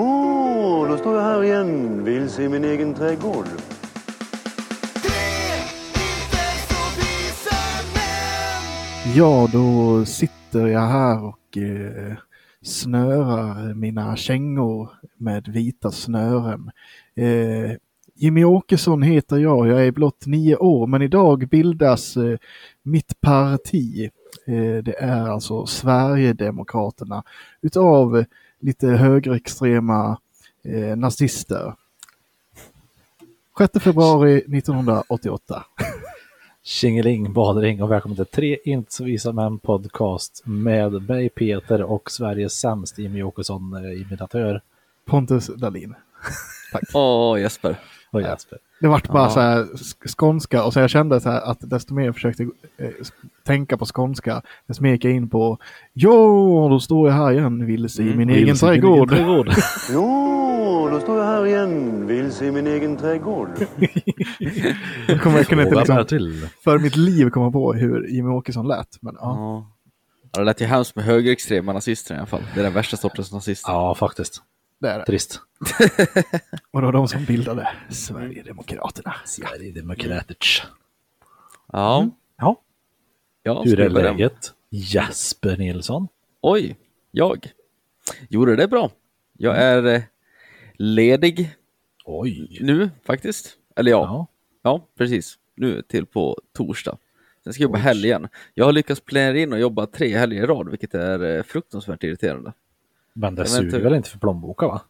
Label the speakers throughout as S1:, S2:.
S1: Jo, då står jag här igen, vilse i min egen trädgård.
S2: Ja, då sitter jag här och eh, snörar mina kängor med vita snören. Eh, Jimmy Åkesson heter jag, jag är blott nio år, men idag bildas eh, mitt parti. Eh, det är alltså Sverigedemokraterna utav lite högerextrema eh, nazister. 6 februari 1988.
S3: Tjingeling, badring och välkommen till Tre inte så visa män podcast med mig Peter och Sveriges sämst Jimmy Åkesson eh, imitatör
S2: Pontus Dahlin.
S4: Åh, Jesper.
S3: och Jesper.
S2: Det vart bara
S4: Ja.
S2: så här sk- skånska och så jag kände så här att desto mer jag försökte eh, s- tänka på skånska, desto mer gick jag in på Jo, då står jag här igen Mm. vilse i min egen
S3: Wilson, din
S2: trädgård.
S3: trädgård.
S1: Jo, då står jag här igen, vilse i min egen trädgård.
S2: Jag kommer jag kunde inte
S3: Fråga
S2: liksom,
S3: mig till.
S2: för mitt liv komma på hur Jimmy Åkesson lät. Men, ja.
S4: Ja. Ja, Det lät ju hemskt med högerextrema nazister i alla fall. Det är den värsta sortens nazister.
S3: Ja, faktiskt.
S2: det är det.
S3: Trist.
S2: Och då de som bildade Sverigedemokraterna.
S3: Sverigedemokratisk.
S4: Ja.
S3: Ja,
S4: Mm. ja
S3: hur
S4: ska
S3: är
S4: vi börja?
S3: läget? Jesper Nilsson.
S4: Oj, jag. Jo, det är bra. Jag är eh, ledig
S3: Oj.
S4: nu faktiskt. Eller ja, ja.
S3: Ja.
S4: precis. Nu till på torsdag. Sen ska jag jobba helg igen. Jag har lyckats planera in och jobba tre helger i rad, vilket är eh, fruktansvärt irriterande.
S3: Men det
S4: Jag
S3: suger
S4: väntar-
S3: väl inte för plånboken va?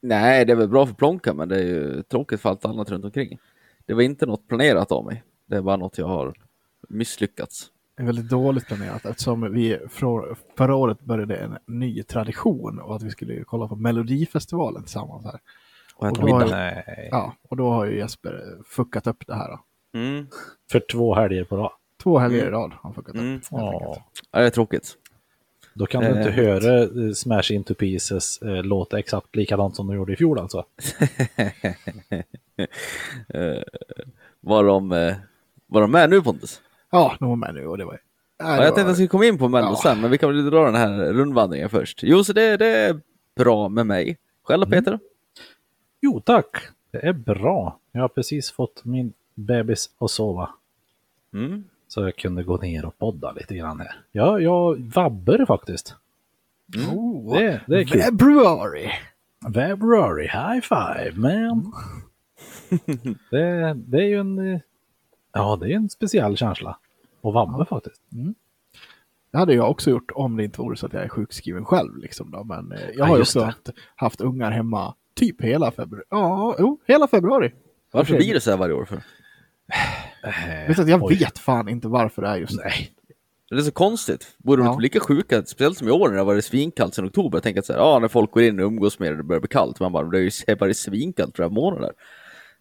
S4: Nej, det är väl bra för plånka, men det är ju tråkigt för allt annat runt omkring. Det var inte något planerat av mig. Det är bara något jag har misslyckats.
S2: Det är väldigt dåligt planerat eftersom vi från förra året började en ny tradition och att vi skulle kolla på Melodifestivalen tillsammans här.
S4: Och
S2: Och
S4: äta
S2: då har
S4: middag.
S2: ju,
S3: Nej.
S2: ja, och då har ju Jesper fuckat upp det här. Då.
S4: Mm,
S3: För två helger på rad.
S2: Två helger i
S4: Mm.
S2: rad har han fuckat upp.
S4: mm.
S2: helt
S3: Ja.
S2: enkelt.
S4: Ja, det är tråkigt.
S3: Då kan du
S4: Eh.
S3: inte höra eh, Smash Into Pieces eh, låta exakt likadant som de gjorde i fjol alltså.
S4: Eh, var, de, eh, var de med nu Pontus?
S2: Ja, de var med nu och det var... Nej,
S4: Ja,
S2: det
S4: jag tänkte att
S2: var...
S4: jag skulle komma in på Mello
S2: Ja.
S4: sen, men vi kan väl dra den här rundvandringen först. Jo, så det, det är bra med mig. Själv då,
S2: Mm.
S4: Peter?
S3: Jo tack, det är bra. Jag har precis fått min bebis att sova.
S4: Mm.
S3: Så jag kunde gå ner och podda lite grann här. Ja, jag vabbar faktiskt.
S2: Oh,
S3: Det, det är kul.
S2: Februari!
S3: February, high five man! det, det är ju en... eh, Ja, det är en speciell känsla. Och vabba faktiskt.
S2: Det hade jag också gjort om det inte vore så att jag är sjukskriven själv. Liksom då. Men eh, jag
S3: Ja,
S2: har ju
S3: just
S2: också
S3: det.
S2: haft, haft ungar hemma typ hela februari. Ja, jo, hela februari.
S4: Varför
S2: Okej.
S4: blir det så här varje år? för?
S2: Vet du att jag
S3: Oj.
S2: vet fan inte varför det är just Nej.
S4: Det är så konstigt. Borde de
S2: Ja.
S4: inte bli lika sjuka? Speciellt som i år när det har varit svinkallt sedan oktober. Jag tänker att så här, ah, när folk går in och umgås med det, det börjar bli kallt. Man bara, det är ju det har varit svinkallt flera månader.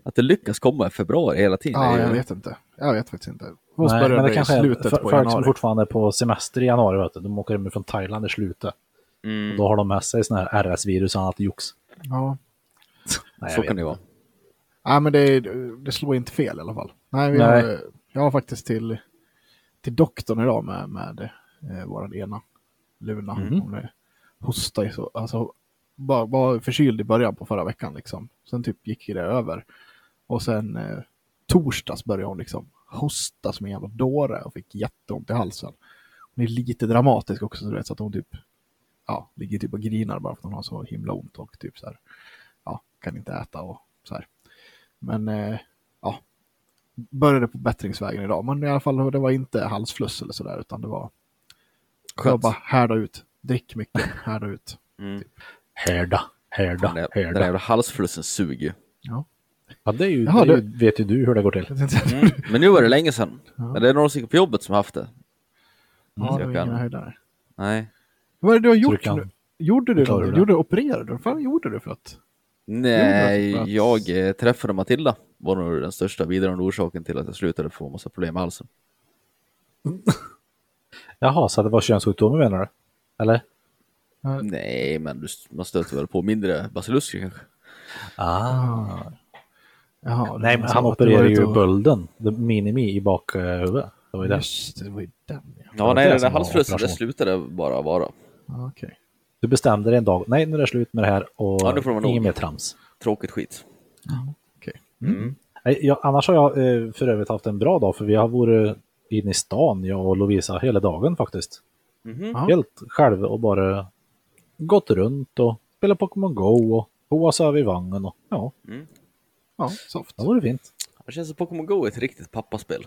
S4: Att det lyckas komma i februari hela tiden.
S2: Ja,
S4: är ju-
S2: jag vet inte. Jag vet faktiskt inte. Hos
S3: Nej, men det kanske
S2: i
S3: är
S2: slutet
S3: f-
S2: på
S3: folk som
S2: januari.
S3: fortfarande är på semester i januari. Vet du. De åker hem från Thailand i slutet.
S4: Mm,
S3: Då har de med sig såna här RS-virus och annat jox.
S2: Ja.
S3: Nej, jag
S4: så
S3: vet
S4: kan det
S3: inte.
S4: vara.
S2: Nej, men det, det slår inte fel i alla fall. Nej, vi
S3: Nej.
S2: Har, jag har faktiskt till, till doktorn idag med, med eh, vår ena Luna.
S3: Mhm.
S2: Hon är, hostar ju så, alltså bara, bara förkyld i början på förra veckan liksom. Sen typ gick ju det över. Och sen eh, torsdags började hon liksom hosta som en jävla dåre och fick jätteont i halsen. Hon är lite dramatisk också, så du vet, så att hon typ ja, ligger typ och grinar bara för att hon har så himla ont och typ så här, ja, kan inte äta och så här. Men eh, ja, började på bättringsvägen idag, men i alla fall det var inte halsfluss eller så där, utan det var, det var
S4: Skönt.
S2: bara härda ut, drick mycket, härda ut.
S4: Mm.
S3: Härda,
S4: Den
S3: härda,
S4: där- den där
S3: härda.
S4: jävla halsflussen suger ju.
S3: Ja, det är ju,
S2: Jaha,
S3: det är ju, vet ju du hur det går till.
S2: Jag tänkte att-
S4: Men nu var det länge sedan.
S2: Ja.
S4: Men det är några stycken på jobbet som har haft det.
S2: Ja, det
S4: jag
S2: var
S4: kan.
S2: inga höjdare.
S4: Nej.
S2: Vad är det du har
S3: Så du
S2: gjort
S3: kan-
S2: nu? Gjorde du
S3: Klarar du
S2: någonting?
S3: det?
S2: Gjorde du opererade? Vad fan gjorde du för att?
S4: Nej,
S2: Jo, men-
S4: jag eh, träffade Matilda. Var nog den största bidragande orsaken till att jag slutade få massa problem med halsen.
S3: Jaha, så det var könssjukdomen menar du? Eller?
S4: Nej, men du, man stöter väl på mindre basilusker kanske.
S3: Ah.
S2: Jaha,
S3: Nej, men han opererade ju bölden, the minimi, i bakhuvudet. Det var ju det.
S2: Just det, det var ju den ja.
S4: Ja,
S3: var
S4: nej,
S3: det
S4: den där
S3: som var
S4: halsflussen, det
S3: operation.
S4: slutade bara vara.
S2: Ja, Okej.
S3: Du bestämde dig en dag, nej nu är det slut med det här och
S4: Ja, nu får det vara
S3: inget
S4: nog.
S3: mer trams.
S4: Tråkigt skit.
S3: Nej, jag, annars har jag eh, för övrigt haft en bra dag för vi har varit inne i stan, jag och Lovisa, hela dagen faktiskt.
S2: Ja.
S3: Helt själv och bara gått runt och spelat Pokémon Go och boat över i vagnen och ja,
S2: Ja, soft.
S3: det vore fint.
S4: Det känns som Pokémon Go är ett riktigt pappaspel.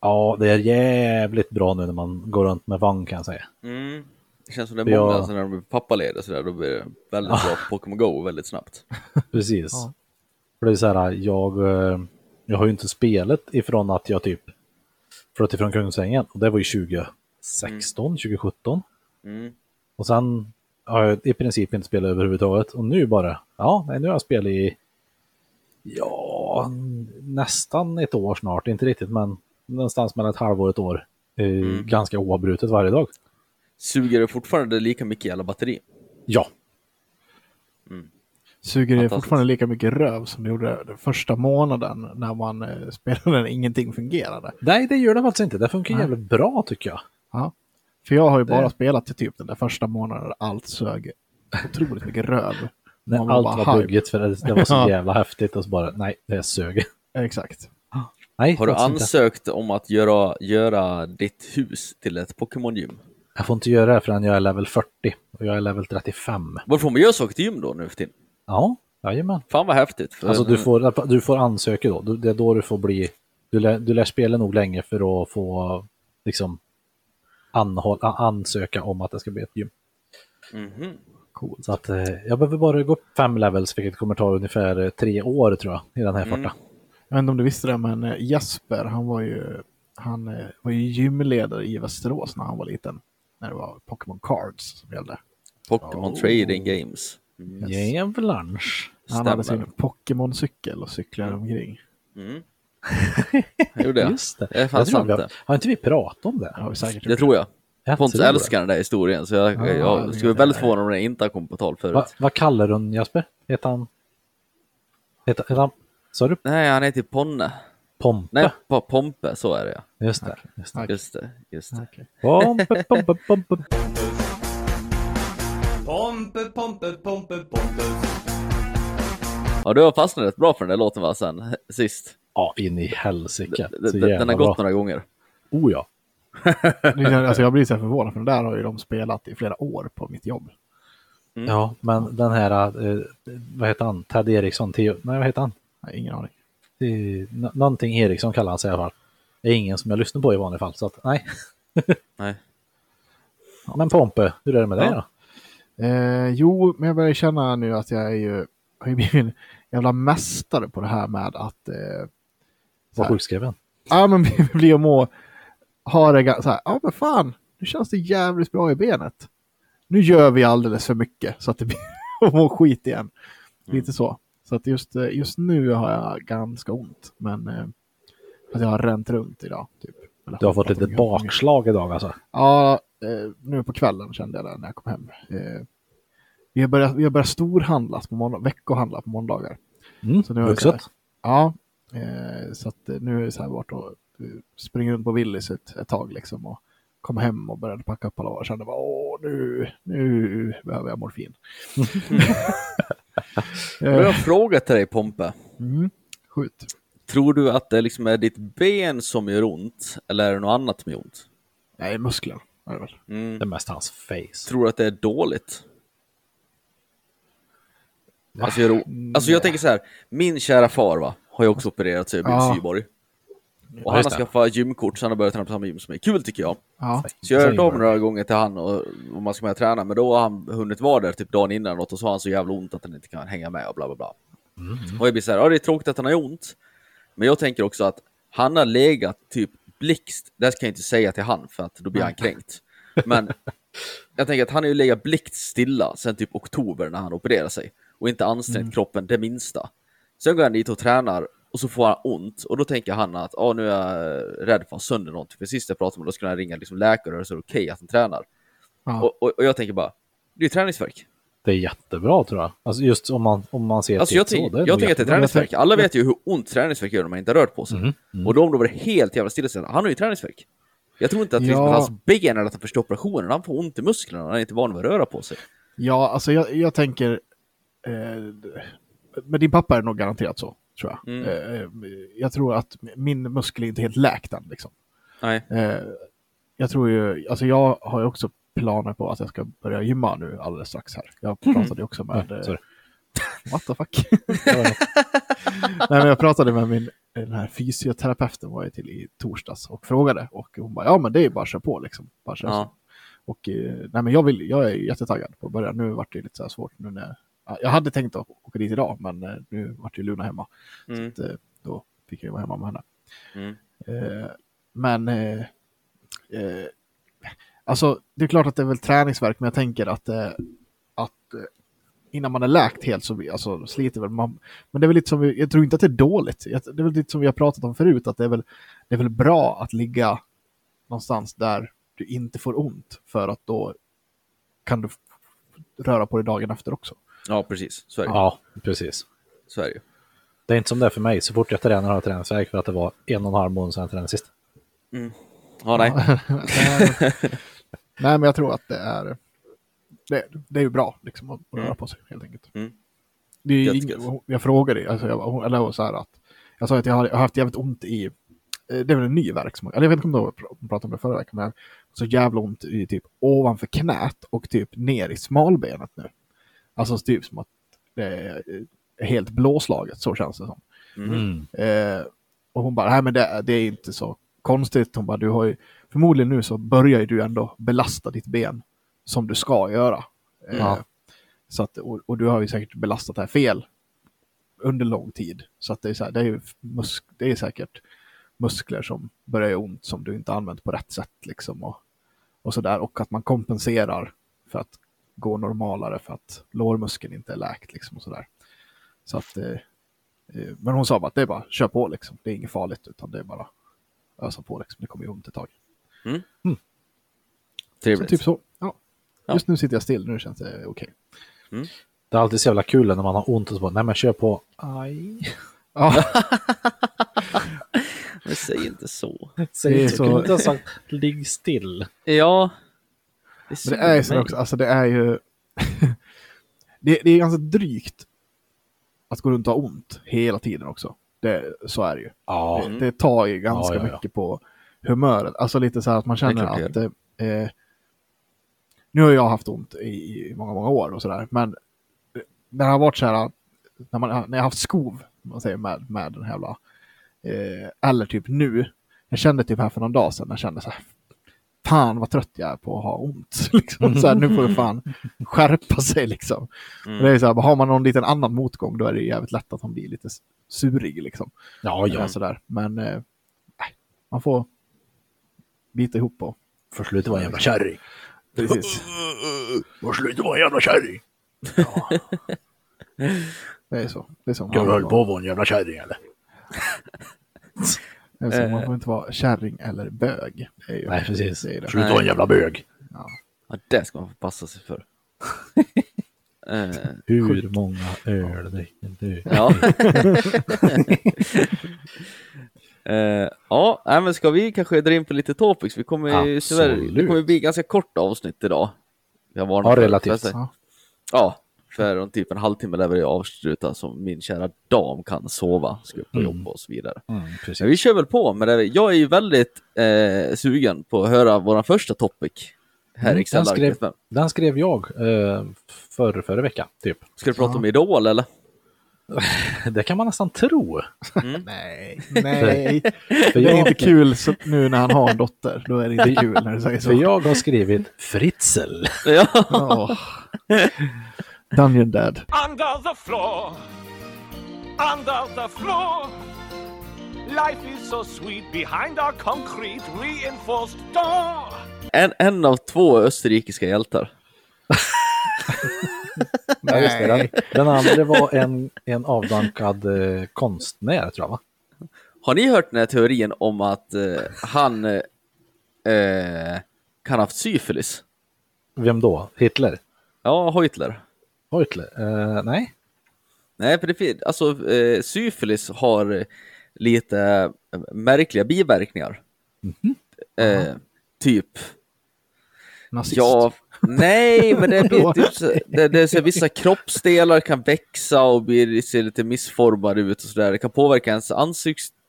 S3: Ja, det är jävligt bra nu när man går runt med vagn kan jag säga.
S4: Mm. Det känns som det är
S3: Ja.
S4: många, alltså, när de är pappalediga och sådär, då blir det väldigt bra på Pokémon Go väldigt snabbt.
S3: Precis.
S2: Ja.
S3: För det är så här, jag, eh, jag har ju inte spelet ifrån att jag typ flöt ifrån Kungsängen och det var ju 2016, 2017.
S4: Mm.
S3: Och sen har jag i princip inte spelat överhuvudtaget och nu bara, ja, nej, nu har jag spelat i, ja, nästan ett år snart, inte riktigt men någonstans mellan ett halvår och ett år. Eh, Ganska oavbrutet varje dag.
S4: Suger det fortfarande lika mycket jävla batteri?
S3: Ja,
S2: Suger det
S4: Fantastiskt.
S2: fortfarande lika mycket röv som det gjorde den första månaden när man eh, spelade när ingenting fungerade?
S3: nej det gör det faktiskt inte, det funkar jävligt bra tycker jag.
S2: Ja. För jag har ju bara
S3: Det-
S2: spelat till typ den där första månaden där allt sög otroligt mycket röv.
S3: När
S2: Man
S3: allt
S2: bara
S3: var
S2: hype.
S3: buggigt för det, det var så
S2: Ja.
S3: jävla häftigt och så bara, nej, det sög.
S2: Exakt.
S3: Nej,
S4: Har du
S3: faktiskt inte.
S4: ansökt om att göra, göra ditt hus till ett Pokémon-gym?
S3: Jag får inte göra det förrän jag är level 40 och jag är level 35.
S4: Varför får man göra saker till gym då nu för tiden?
S3: Ja, jajamän.
S4: Fan vad häftigt.
S2: Eh,
S4: För-
S3: Alltså du får, du får ansöka då, Du- det är då du får bli, du lär, du lär spela nog länge för att få liksom anhåll, a- ansöka om att det ska bli ett gym.
S4: Mhm.
S3: Coolt. Så att eh, jag behöver bara gå upp fem levels vilket kommer ta ungefär eh, tre år tror jag i den här
S2: Mm.
S3: farten.
S2: Jag vet inte om du visste det, men eh, Jasper, han var ju, han eh, var ju gymledare i Västerås när han var liten. När det var Pokémon Cards som gällde.
S4: Pokémon Trading Games.
S2: Yes.
S3: Jävlarns.
S2: Han hade
S4: Stämmer.
S2: sin Pokémon-cykel och cyklade omkring.
S4: Mm. Jag gjorde jag.
S3: Just det.
S4: Det är fan
S3: Jag tror
S4: sant
S3: vi har,
S4: det.
S3: har inte vi pratat om
S2: Det
S3: det?
S2: har vi säkert
S4: Det
S2: gjort.
S4: tror jag.
S3: Jag
S4: Pontus
S3: tror det. Ah,
S4: älskar den där historien, så jag,
S2: det
S4: jag
S2: vet
S4: skulle
S2: jag.
S4: bli väldigt förvånad om den inte har kommit på tal förut.
S3: Va, vad kallar du hon Jasper? Heter han... Heter, heter han... Sa du
S4: Nej, han heter Ponne.
S3: Pompe?
S4: Nej, på Pompe, så är det ja.
S3: Just det. Just det.
S4: Just det, just det.
S2: Okej.
S3: Pompe, pompe, pompe.
S5: Pompe, pompe, pompe, pompe.
S4: Ja, du har fastnat rätt bra för den där låten va, sen sist.
S3: Ja, in i helsike.
S4: D-
S3: Så
S4: d- Den
S3: jävla
S4: har gått
S3: bra.
S4: några gånger.
S3: Oh ja.
S2: Det känns- Alltså jag blir så här förvånad, för den där har ju de spelat i flera år på mitt jobb.
S4: Mm.
S3: Ja, men den här, eh, vad heter han? Ted Eriksson? Theo, nej, vad heter han?
S2: Nej, ingen aning.
S3: Theo- nå- Någonting Eriksson kallar han sig i alla fall. Det är ingen som jag lyssnar på i vanliga fall, så att nej. Eh.
S4: Nej.
S3: Men Pompe, hur är det med dig
S4: Ja.
S3: då?
S2: Eh, jo, men jag börjar känna nu att jag är ju, har ju blivit en jävla mästare på det här med att eh,
S3: Var
S2: här.
S3: sjukskriven?
S2: ja men vi blir och må, ha det ga- så här, ja men fan, nu känns det jävligt bra i benet. Nu gör vi alldeles för mycket så att det blir att må skit igen.
S3: Mm.
S2: Lite så. Så att just, eh, just nu har jag ganska ont, men eh, att jag har ränt runt idag. Typ. Eller
S3: Du har fått
S2: hoppat
S3: lite
S2: omkring och omkring.
S3: bakslag idag alltså?
S2: Ja, eh, nu på kvällen kände jag det när jag kom hem. Eh, vi har börjat, vi har börjat storhandla på måndag, veckohandla på måndagar.
S3: Mm,
S2: Så nu har jag
S3: vuxet?
S2: Ja, eh, så att eh, nu är det så här vart och eh, springer runt på Willys ett, ett tag liksom och kom hem och började packa upp alla varor. Kände bara åh, nu, nu behöver jag morfin.
S4: Jag har
S2: eh,
S4: en fråga till dig Pompe.
S2: mm, skjut.
S4: Tror du att det liksom är ditt ben som gör ont, eller är det något annat som gör ont?
S2: Nej, muskler är det väl.
S4: Mm.
S3: Det är mest hans face.
S4: Tror du att det är dåligt? Alltså, gör det, alltså jag tänker så här, min kära far va, har ju också opererat sig och blivit
S2: Ja.
S4: syborg. Och
S3: just
S4: han har
S3: det.
S4: skaffat gymkort så han har börjat träna på samma gym som mig. Kul tycker jag.
S2: Ja,
S4: Så jag hörde
S3: Syborg.
S4: av mig några gånger till han och, och man ska med och träna, men då har han hunnit vara där typ dagen innan något och så har han så jävla ont att han inte kan hänga med och bla bla bla. Och jag blir så här, ja det är tråkigt att han har ont, men jag tänker också att han har legat typ blixt, det här ska jag inte säga till han för att då blir han kränkt. Men jag tänker att han har ju legat blixt stilla sedan typ oktober när han opererade sig och inte ansträngt kroppen det minsta. Sen går han dit och tränar och så får han ont och då tänker han att ah, nu är jag rädd för att ha sönder någonting. För sist jag pratade med då skulle han ringa liksom läkare och så är det okej att han tränar.
S2: ja.
S4: Och, och, och jag tänker bara, det är ju träningsverk.
S3: Det är jättebra tror jag. Alltså just om man, om man ser
S4: Alltså
S3: till
S4: jag,
S3: så.
S4: tänk,
S3: det är
S4: jag
S3: nog
S4: tänker att det är
S3: jättebra.
S4: träningsverk. Alla vet ju hur ont träningsverk gör när man inte har rört på sig. Och då om det var helt jävla stillasittande, han har ju träningsverk. Jag tror inte att
S2: Ja.
S4: liksom, att hans ben eller att han förstår operationen, han får ont i musklerna, han är inte van vid att röra på sig.
S2: Ja, alltså jag, jag tänker... Eh, men din pappa är nog garanterat så, tror jag.
S4: Mm.
S2: Eh, Eh, jag tror att min muskel är inte helt läkt än. Liksom.
S4: Nej.
S2: Eh, jag tror ju... Alltså jag har ju också planer på att jag ska börja gymma nu alldeles strax här. Jag pratade ju också med...
S3: Nej,
S2: eh,
S3: sorry.
S2: What the fuck? Nej, men jag pratade med min den här fysioterapeuten var jag till i torsdags och frågade. Och hon bara, ja men det är bara att köra på liksom. Bara köra
S4: Ja.
S2: och eh, nej, men jag, vill, jag är jättetaggad på att börja. Nu vart det ju lite så här svårt. Nu när, ja, jag hade tänkt att åka dit idag, men eh, nu vart ju Luna hemma.
S4: Mm.
S2: Så att, eh, då fick jag ju vara hemma med henne.
S4: Mm.
S2: Eh, men eh, eh, alltså, det är klart att det är väl träningsverk, men jag tänker att, eh, att eh, innan man är läkt helt så vi- alltså, sliter väl man. Men det är väl lite som, vi- jag tror inte att det är dåligt. Jag, det är väl lite som vi har pratat om förut, att det är väl, det är väl bra att ligga någonstans där du inte får ont, för att då kan du f- röra på dig dagen efter också.
S4: Ja, precis. Så är det, ju.
S3: Ja, precis.
S4: så är det ju.
S3: Det är inte som det är för mig. Så fort jag tränar har jag träningsvärk för att det var en och en halv månad sedan jag tränade sist.
S4: Ja, nej.
S2: Nej, men jag tror att det är, det, det är ju bra liksom, att röra på sig helt enkelt.
S4: Mm.
S2: Det är
S4: Gött,
S2: inget,
S4: gött.
S2: jag frågade, alltså, jag, hon- eller så här att, jag sa att jag har, jag har haft jävligt ont i, eh, det är väl en ny värk som, eller jag vet inte om du pr- pratade om det förra veckan, men så jävla ont i typ ovanför knät och typ ner i smalbenet nu. Alltså typ som att det är eh, helt blåslaget, så känns det som. Eh, och hon bara, nej men det, det är inte så konstigt. Hon bara, du har ju, förmodligen nu så börjar ju du ändå belasta ditt ben som du ska göra. Eh,
S3: Ja.
S2: så att, och, och du har ju säkert belastat det här fel under lång tid. Så att det är, så här, det är, ju musk, det är säkert muskler som börjar göra ont som du inte har använt på rätt sätt. Liksom, och, och, så där. och att man kompenserar för att gå normalare för att lårmuskeln inte är läkt. Liksom, och så där. Så att, eh, eh, men hon sa bara att det är bara kör på liksom. Det är inget farligt utan det är bara ösa på liksom. Det kommer ju ont ett tag. Så
S4: Trevligt.
S2: typ så. Ja.
S4: Ja.
S2: Just nu sitter jag still, nu känns det okej.
S3: Det är alltid så jävla kul när man har ont och så bara, nej men kör på. Aj.
S2: Ja,
S4: Men säg inte så.
S3: Säg
S2: Det är
S3: inte så.
S2: så-
S3: Kunde inte ha sagt, ligg still.
S4: Ja.
S2: men det är ju så också, alltså det är ju... det, det är ganska drygt att gå runt och ha ont hela tiden också. Det, så är det ju.
S3: Ja,
S4: Mm.
S2: Det, det tar ju ganska
S3: Mm. Ja, ja, ja.
S2: mycket på humöret. Alltså lite så här att man
S4: Det
S2: känner
S4: är klart
S2: att... Eh, eh, nu har jag haft ont i, i många, många år och sådär, men eh, när det har varit så här, när, man, när jag har haft skov, om man säger, med, med den här jävla... Eh, eller typ nu, jag kände typ här för någon dag sedan, jag kände så här, fan vad trött jag är på att ha ont. Liksom, så här, nu får det fan skärpa sig liksom.
S3: Mm.
S2: Och Det är så här, har man någon liten annan motgång då är det ju jävligt lätt att man blir lite surig liksom.
S3: ja,
S2: Ja.
S3: ja.
S2: Sådär. Men eh, nej, man får bita ihop och...
S3: Får sluta vara en jävla kärring.
S4: Mm.
S2: Precis.
S3: Får sluta vara en jävla kärring.
S2: Det är så. Det är så.
S3: Jag
S2: man,
S3: höll på att vara en jävla kärring eller?
S2: Det är så. man får inte vara kärring eller bög. Det är ju,
S3: Eh. Nej, precis.
S2: Det är det.
S3: Sluta vara en jävla bög.
S4: Ja, det ska man få passa sig för. Eh,
S3: Hur många öl dricker du?
S4: ja. Eh, ja, nej, men ska vi kanske dra in på lite topics? Vi kommer ju tyvärr, det
S3: Absolut.
S4: kommer ju bli ganska kort avsnitt idag. Jag varnar
S3: Ja,
S4: för-
S3: relativt.
S4: för att-
S2: Ja.
S4: Ja, för om typ en halvtimme lär vi avsluta som min kära dam kan sova, ska upp och jobba och så vidare.
S3: Mm,
S4: Så
S3: precis.
S4: vi kör väl på med det. Jag är ju väldigt eh, sugen på att höra vår första topic här
S3: Mm,
S4: i excel
S3: den skrev-
S4: skrev...
S3: Den skrev jag eh, för, förra veckan, typ.
S4: Ska du prata om Idol eller?
S3: Det kan man nästan tro.
S2: Nej, nej.
S3: För
S2: Det är
S3: jag,
S2: inte kul så, nu när han har en dotter. Då är det inte kul när du säger så.
S3: för jag har skrivit Fritzl.
S4: Ja,
S2: Åh. Dungeon Dad.
S6: Under the floor, under the floor. Life is so sweet behind our concrete reinforced door.
S4: en, en av två österrikiska hjältar.
S3: Ja, just det. Den, den andra var en, en avdankad eh, konstnär, tror jag. Va?
S4: Har ni hört den här teorin om att eh, han eh, eh, kan ha haft syfilis?
S3: Vem då? Hitler?
S4: Ja, Hitler.
S3: Hitler? Eh, nej?
S4: Nej, för det finns, alltså eh, syfilis har eh, lite eh, märkliga biverkningar. Eh, typ,
S2: Nazist.
S4: ja, Nej, men det blir typ så, det, det är så här, vissa kroppsdelar kan växa och bli, se lite missformade ut och sådär. Det kan påverka ens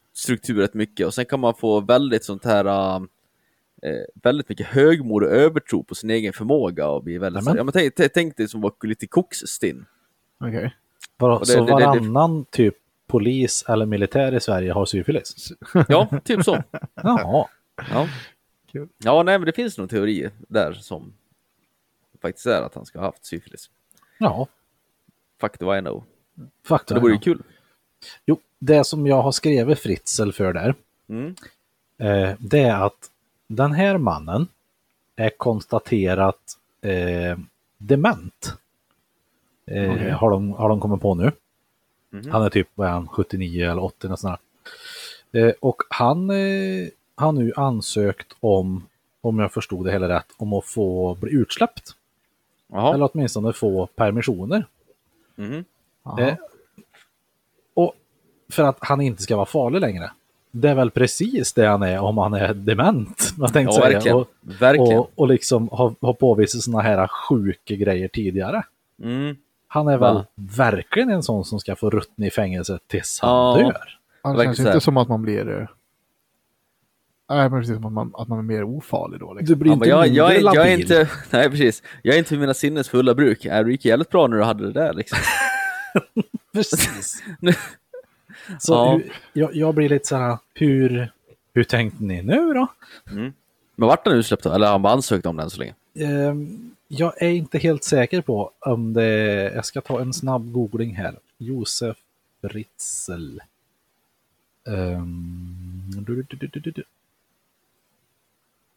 S4: ansiktsstruktur rätt mycket och sen kan man få väldigt sånt här eh, väldigt mycket högmod och övertro på sin egen förmåga och bli väldigt så här, ja, men tänk, tänk- tänk dig som var lite koksstinn.
S2: Okej.
S3: Vadå,
S4: det-
S3: så
S4: det- det- det-
S3: varannan typ polis eller militär i Sverige har syfilis?
S4: Ja, typ så.
S3: Jaha.
S4: Ja.
S2: Kul.
S4: ja, nej, men det finns nog teorier där som faktiskt är att han ska ha haft syfilis.
S3: Ja,
S4: Fuck do I know. Så
S3: faktum.
S4: det vore ju kul.
S3: Jo, det som jag har skrivit Fritzl för där,
S4: Mm.
S3: eh, det är att den här mannen är konstaterat eh, dement. Eh,
S2: Okej.
S3: har, de, har de kommit på nu. Han är typ vad är han, 79 eller 80 nästan. Eh, och han eh, har nu ansökt om, om jag förstod det hela rätt, om att få bli utsläppt.
S4: Jaha.
S3: Eller åtminstone få permissioner.
S4: Mhm.
S3: Eh, och för att han inte ska vara farlig längre. Det är väl precis det han är om han är dement. Jag tänkte
S4: Ja,
S3: säga.
S4: verkligen.
S3: Och,
S4: verkligen.
S3: och, och liksom har, har påvisat sådana här sjuka grejer tidigare.
S4: Mm.
S3: Han är väl
S4: Va?
S3: verkligen en sån som ska få ruttna i fängelse tills han
S4: Ja.
S3: dör.
S2: Ja, Det
S4: verkar
S2: känns
S4: så här.
S2: inte som att man blir... eh, Nej, men precis som att man, att man är mer ofarlig då. Liksom.
S3: Du blir
S4: Ja,
S3: inte
S4: men jag,
S3: mindre
S4: jag, är, jag är
S3: labil.
S4: inte, nej precis, jag är inte vid mina sinnes fulla bruk. Äh, Det gick jävligt bra när du hade det där liksom.
S3: Precis.
S4: Nu-
S3: Så
S4: Ja.
S3: hur, jag, jag blir lite så här, hur, hur tänkte ni nu då?
S4: Men vart han utsläppt då? Eller har han bara ansökt om den så länge?
S3: Ehm, jag är inte helt säker på om det... Jag ska ta en snabb googling här. Josef Fritzl. Ehm, du, du, du, du, du, du.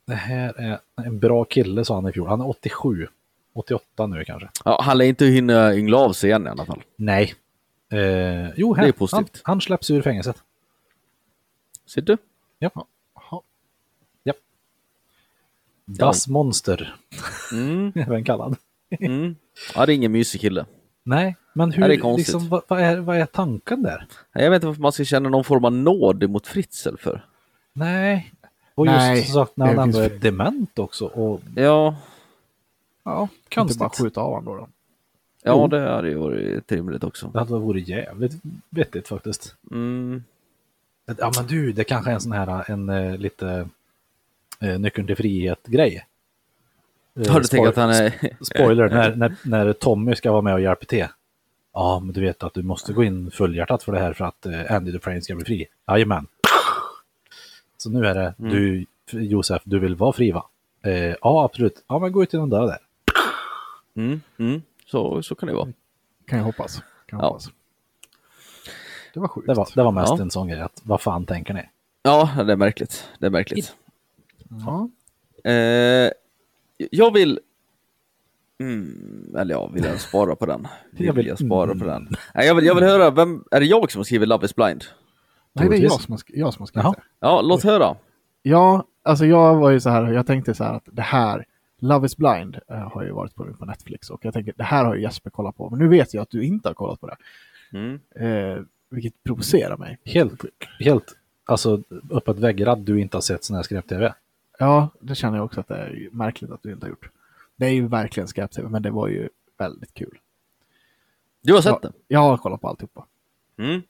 S3: Det här är en bra kille sa han i fjol. Han är 87. 88 nu kanske.
S4: Ja, han lär inte hinna yngla av sig igen i alla fall.
S3: Nej. Ehm, jo, här,
S4: Det
S3: han,
S4: är positivt.
S3: han släpps ur fängelset.
S4: Ser du?
S3: Ja.
S2: Jaha.
S3: Das Monster
S4: Mm,
S3: är han kallad.
S4: mm. Ja, det är ingen mysig kille.
S3: Nej, men
S4: Ja,
S3: hur,
S4: det är konstigt.
S3: liksom, vad, vad, är, vad är tanken där?
S4: Nej, Jag vet inte varför man ska känna någon form av nåd mot Fritzl för.
S3: Nej. Och just
S2: Nej,
S3: som sagt när han
S2: det
S3: ändå
S2: finns-
S3: är dement också. Och,
S4: Ja,
S3: ja,
S2: Inte bara
S3: konstigt.
S2: skjuta av honom då. då.
S4: ja
S3: Jo.
S4: det hade ju varit rimligt också.
S3: Det hade varit jävligt vettigt faktiskt.
S4: Mm.
S3: Ja men du, det kanske är en sån här, en eh, lite eh, nyckeln till frihet-grej. Eh,
S4: Har du tänkt
S3: spoil-
S4: att han är...
S3: Spoiler, när, när, när Tommy ska vara med och hjälpa till. Ja, men du vet att du måste gå in fullhjärtat för det här för att eh, Andy Dufresne ska bli fri. Jajamän. Så nu är det, du Josef, du vill vara fri va? Eh, ja, absolut. Ja, men gå ut genom dörren där.
S4: Mm, mm. Så, så kan det vara.
S2: Kan jag hoppas. Kan jag
S4: Ja.
S2: hoppas. Det var sjukt.
S3: Det var, det var mest
S4: Ja.
S3: en sån grej, att vad fan tänker ni?
S4: Ja, det är märkligt. Det är märkligt.
S2: Ja.
S4: Eh, jag vill... Mm, eller ja, vill jag spara på den? Vill jag,
S3: Jag vill-
S4: spara på
S2: mm.
S4: den? Nej, jag, vill, jag vill höra, vem, är det jag som har skrivit Love is blind?
S2: Nej, det är
S3: Troligtvis.
S2: jag som har, sk- jag som har skrivit
S3: Jaha.
S2: det.
S4: Ja, låt höra.
S2: Ja, alltså jag var ju så här, jag tänkte så här att det här, Love is blind eh, har ju varit på nu på Netflix och jag tänker det här har ju Jesper kollat på, men nu vet jag att du inte har kollat på det.
S4: Mm.
S2: Eh, vilket provocerar mig.
S3: Helt, helt, alltså uppåt väggar att du inte har sett sån här skräp-tv.
S2: Ja, det känner jag också att det är märkligt att du inte har gjort. Det är ju verkligen skräp-tv, men det var ju väldigt kul.
S4: Du har sett
S2: Jag, jag har kollat på alltihopa.
S4: den? Mm.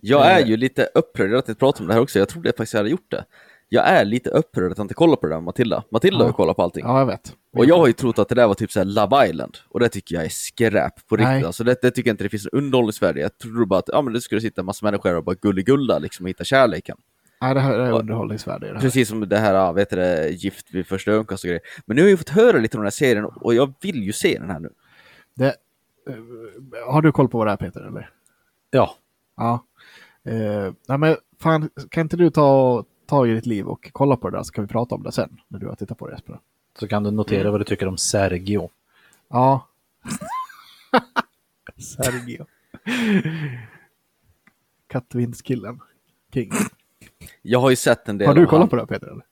S4: Jag är
S2: Eh.
S4: ju lite upprörd att inte prata om det här också, jag trodde jag faktiskt hade gjort det. Jag är lite upprörd att jag inte kollar på det där med Matilda. Matilda
S2: Ja.
S4: har ju kollat på allting.
S2: Ja, jag vet.
S4: Och jag har ju trott att det där var typ såhär Love Island, och det tycker jag är skräp på riktigt.
S2: Nej.
S4: Alltså det, det tycker jag inte det finns någon underhållning i Sverige. Jag trodde bara att ja, men det skulle sitta en massa människor och bara gulligulla liksom, och hitta kärleken.
S2: Nej, det här är underhållningsvärde i det här.
S4: Precis som det här, vet du, det, Gift vid första ögonkastet och grejer. Men nu har jag ju fått höra lite om den här serien och jag vill ju se den här nu.
S2: Det, eh, har du koll på vad det är Peter, eller?
S3: Ja,
S2: Ja. Eh, nej men fan, kan inte du ta tag i ditt liv och kolla på det där så kan vi prata om det sen när du har tittat på det Jesper.
S3: så kan du notera vad du tycker om Sergio.
S2: Ja. Sergio. Kattvindskillen. King.
S4: Jag har ju sett en del
S2: Har du
S4: av han.
S2: kollat på det här, Peter? Eller?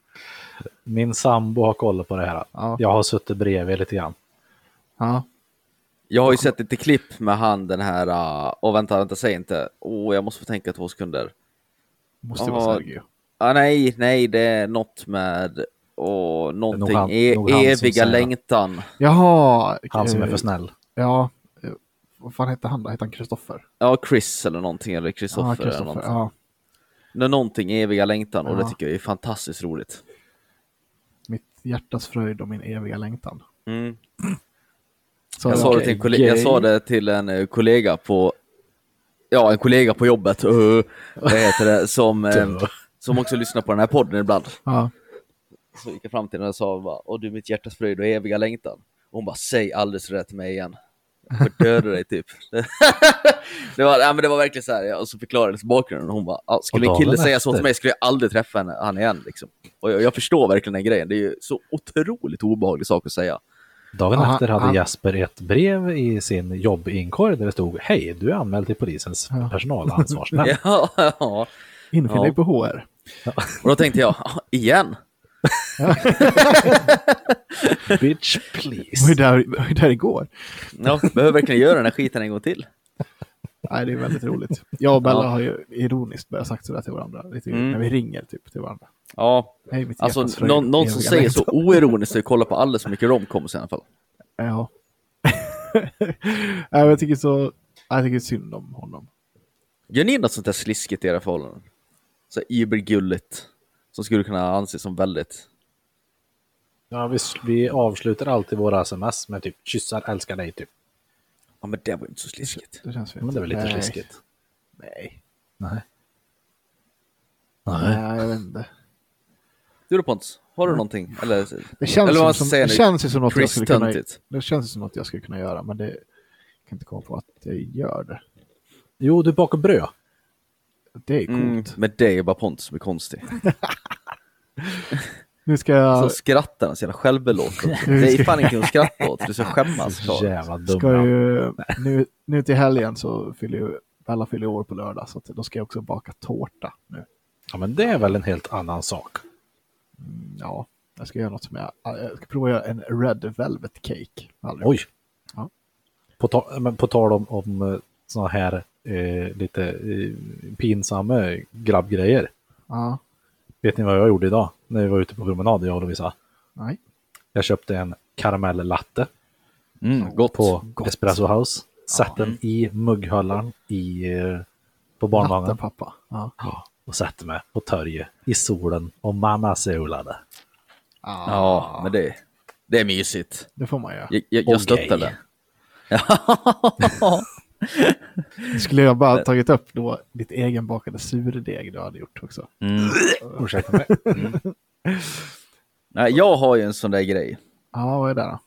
S3: Min sambo har koll på det här.
S2: Ja.
S3: Jag har suttit bredvid lite grann.
S2: Ja.
S4: Jag har ju sett lite klipp med han den här, uh, och vänta, vänta, säg inte. Åh, jag måste få tänka två sekunder.
S2: Måste
S4: Ja.
S2: vara Sergio.
S4: Ah, nej, nej, det är något med och
S3: nog
S4: någonting.
S3: han-
S4: E-
S3: nog han som
S4: eviga
S3: säger det.
S4: längtan.
S2: Jaha!
S3: Han som är
S2: eh,
S3: för snäll.
S2: Ja. eh, Vad fan hette han då? Hette han Kristoffer?
S4: Ja, Chris eller någonting, eller Kristoffer
S2: Ja,
S4: eller
S2: Kristoffer.
S4: någonting.
S2: Ja,
S4: Nå- Någonting eviga längtan och
S2: Ja.
S4: det tycker jag är fantastiskt roligt.
S2: mitt hjärtas fröjd och min eviga längtan.
S4: Mm.
S2: Så,
S4: Jag, sa det till en kollega, jag sa det till en eh, kollega på Ja, en kollega på jobbet, uh, vad heter det, som, eh, som också lyssnar på den här podden ibland.
S2: Ja.
S4: Så gick jag fram till henne och sa bara, Åh du mitt hjärtas fröjd och eviga längtan. Och hon bara, säg aldrig så där till mig igen. Jag får döda dig typ. det, var, ja, men det var verkligen så här, ja, och så förklarades bakgrunden. Hon bara, "Ja, skulle
S3: Och
S4: en kille
S3: dagen
S4: säga så
S3: efter.
S4: till mig skulle jag aldrig träffa henne, han igen. Liksom. Och jag, jag förstår verkligen den grejen, det är ju så otroligt obehaglig sak att säga.
S3: Dagen
S2: Ja,
S3: efter hade
S2: han-
S3: Jesper ett brev i sin jobbinkorg där det stod Hej, du är anmäld till polisens
S2: Ja.
S3: personalansvarsnämnd.
S4: Ja, ja.
S2: Infinn
S4: Ja.
S2: dig på HR.
S4: Och då tänkte jag, "Ah, igen?
S3: Bitch
S2: Jag var ju
S3: please.
S2: där, jag var ju där igår.
S4: Ja, behöver verkligen göra den här skiten en gång till.
S2: Nej, det är väldigt roligt. Jag och Bella
S4: Ja.
S2: har ju ironiskt börjat sagt sådär till varandra. Lite
S4: Mm.
S2: När vi ringer typ till varandra.
S4: Ja,
S2: Hej, mitt
S4: alltså
S2: hjärtas fröjd
S4: någon,
S2: och
S4: någon som
S2: eviga
S4: säger
S2: längtan.
S4: så oironiskt och kollar på alla som mycket romcoms i alla fall.
S2: Ja. Nej, men jag tycker så... Jag tycker synd om honom.
S4: Gör ni något sånt där sliskigt i era förhållanden? Så här übergulligt. Som skulle kunna anses som väldigt...
S3: Ja, vi, vi avslutar alltid våra sms med typ kyssar, älskar dig typ.
S4: Ja men det var ju inte så sliskigt.
S2: Det känns fel.
S3: Men det är väl lite
S2: Nej.
S3: sliskigt.
S2: Nej.
S3: Nej.
S2: Nej.
S3: Nej.
S2: jag vet inte.
S4: Du då Pontus, har du någonting? Eller,
S2: Det känns,
S4: eller
S2: ju,
S4: vad
S2: som,
S4: man säger
S2: det
S4: nu?
S2: känns ju som något jag skulle kunna...
S4: Chris-töntigt.
S2: Det känns ju som något jag skulle kunna göra, men det... Jag kan inte komma på att jag gör det.
S3: Jo, du bakar bröd.
S2: Det är coolt.
S4: Mm, men det är bara Pontus som är konstig.
S2: Nu ska jag...
S4: Så skrattar han så jävla självbelåten. Det är fan ingenting att skratta åt, du ska skämmas.
S3: Så
S4: Karl.
S3: jävla dumma.
S2: Ska ju, nu, nu till helgen så fyller ju, Bella fyller år på lördag så att då ska jag också baka tårta nu.
S3: Ja, men det är väl en helt annan sak.
S2: Mm, Ja, jag ska göra något som jag, jag ska prova att göra en Red Velvet Cake. Aldrig.
S3: Oj!
S2: Ja.
S3: På, ta, men på tal om, om eh, såna här eh, lite eh, pinsamma grabbgrejer.
S2: Ja,
S3: Vet ni vad jag gjorde idag? När vi var ute på promenad, jag och Lovisa.
S2: nej.
S3: Jag köpte en karamellatte
S4: Mm, gott.
S3: på
S2: Gott.
S3: Espresso House. Satt den i mugghållaren i, eh, på barnvagnen.
S2: Natten pappa. Ja.
S3: Och satte mig på torget i solen och mamma solade.
S4: Ja, men det, det är mysigt.
S2: Det får man göra.
S4: Jag, jag, jag
S3: Och gay.
S4: stöttar det.
S2: Skulle jag
S3: Eh.
S2: bara tagit upp då ditt egenbakade surdeg du hade gjort också.
S3: Ursäkta mig.
S4: Nej, jag har ju en sån där grej.
S2: Ja, vad är det då?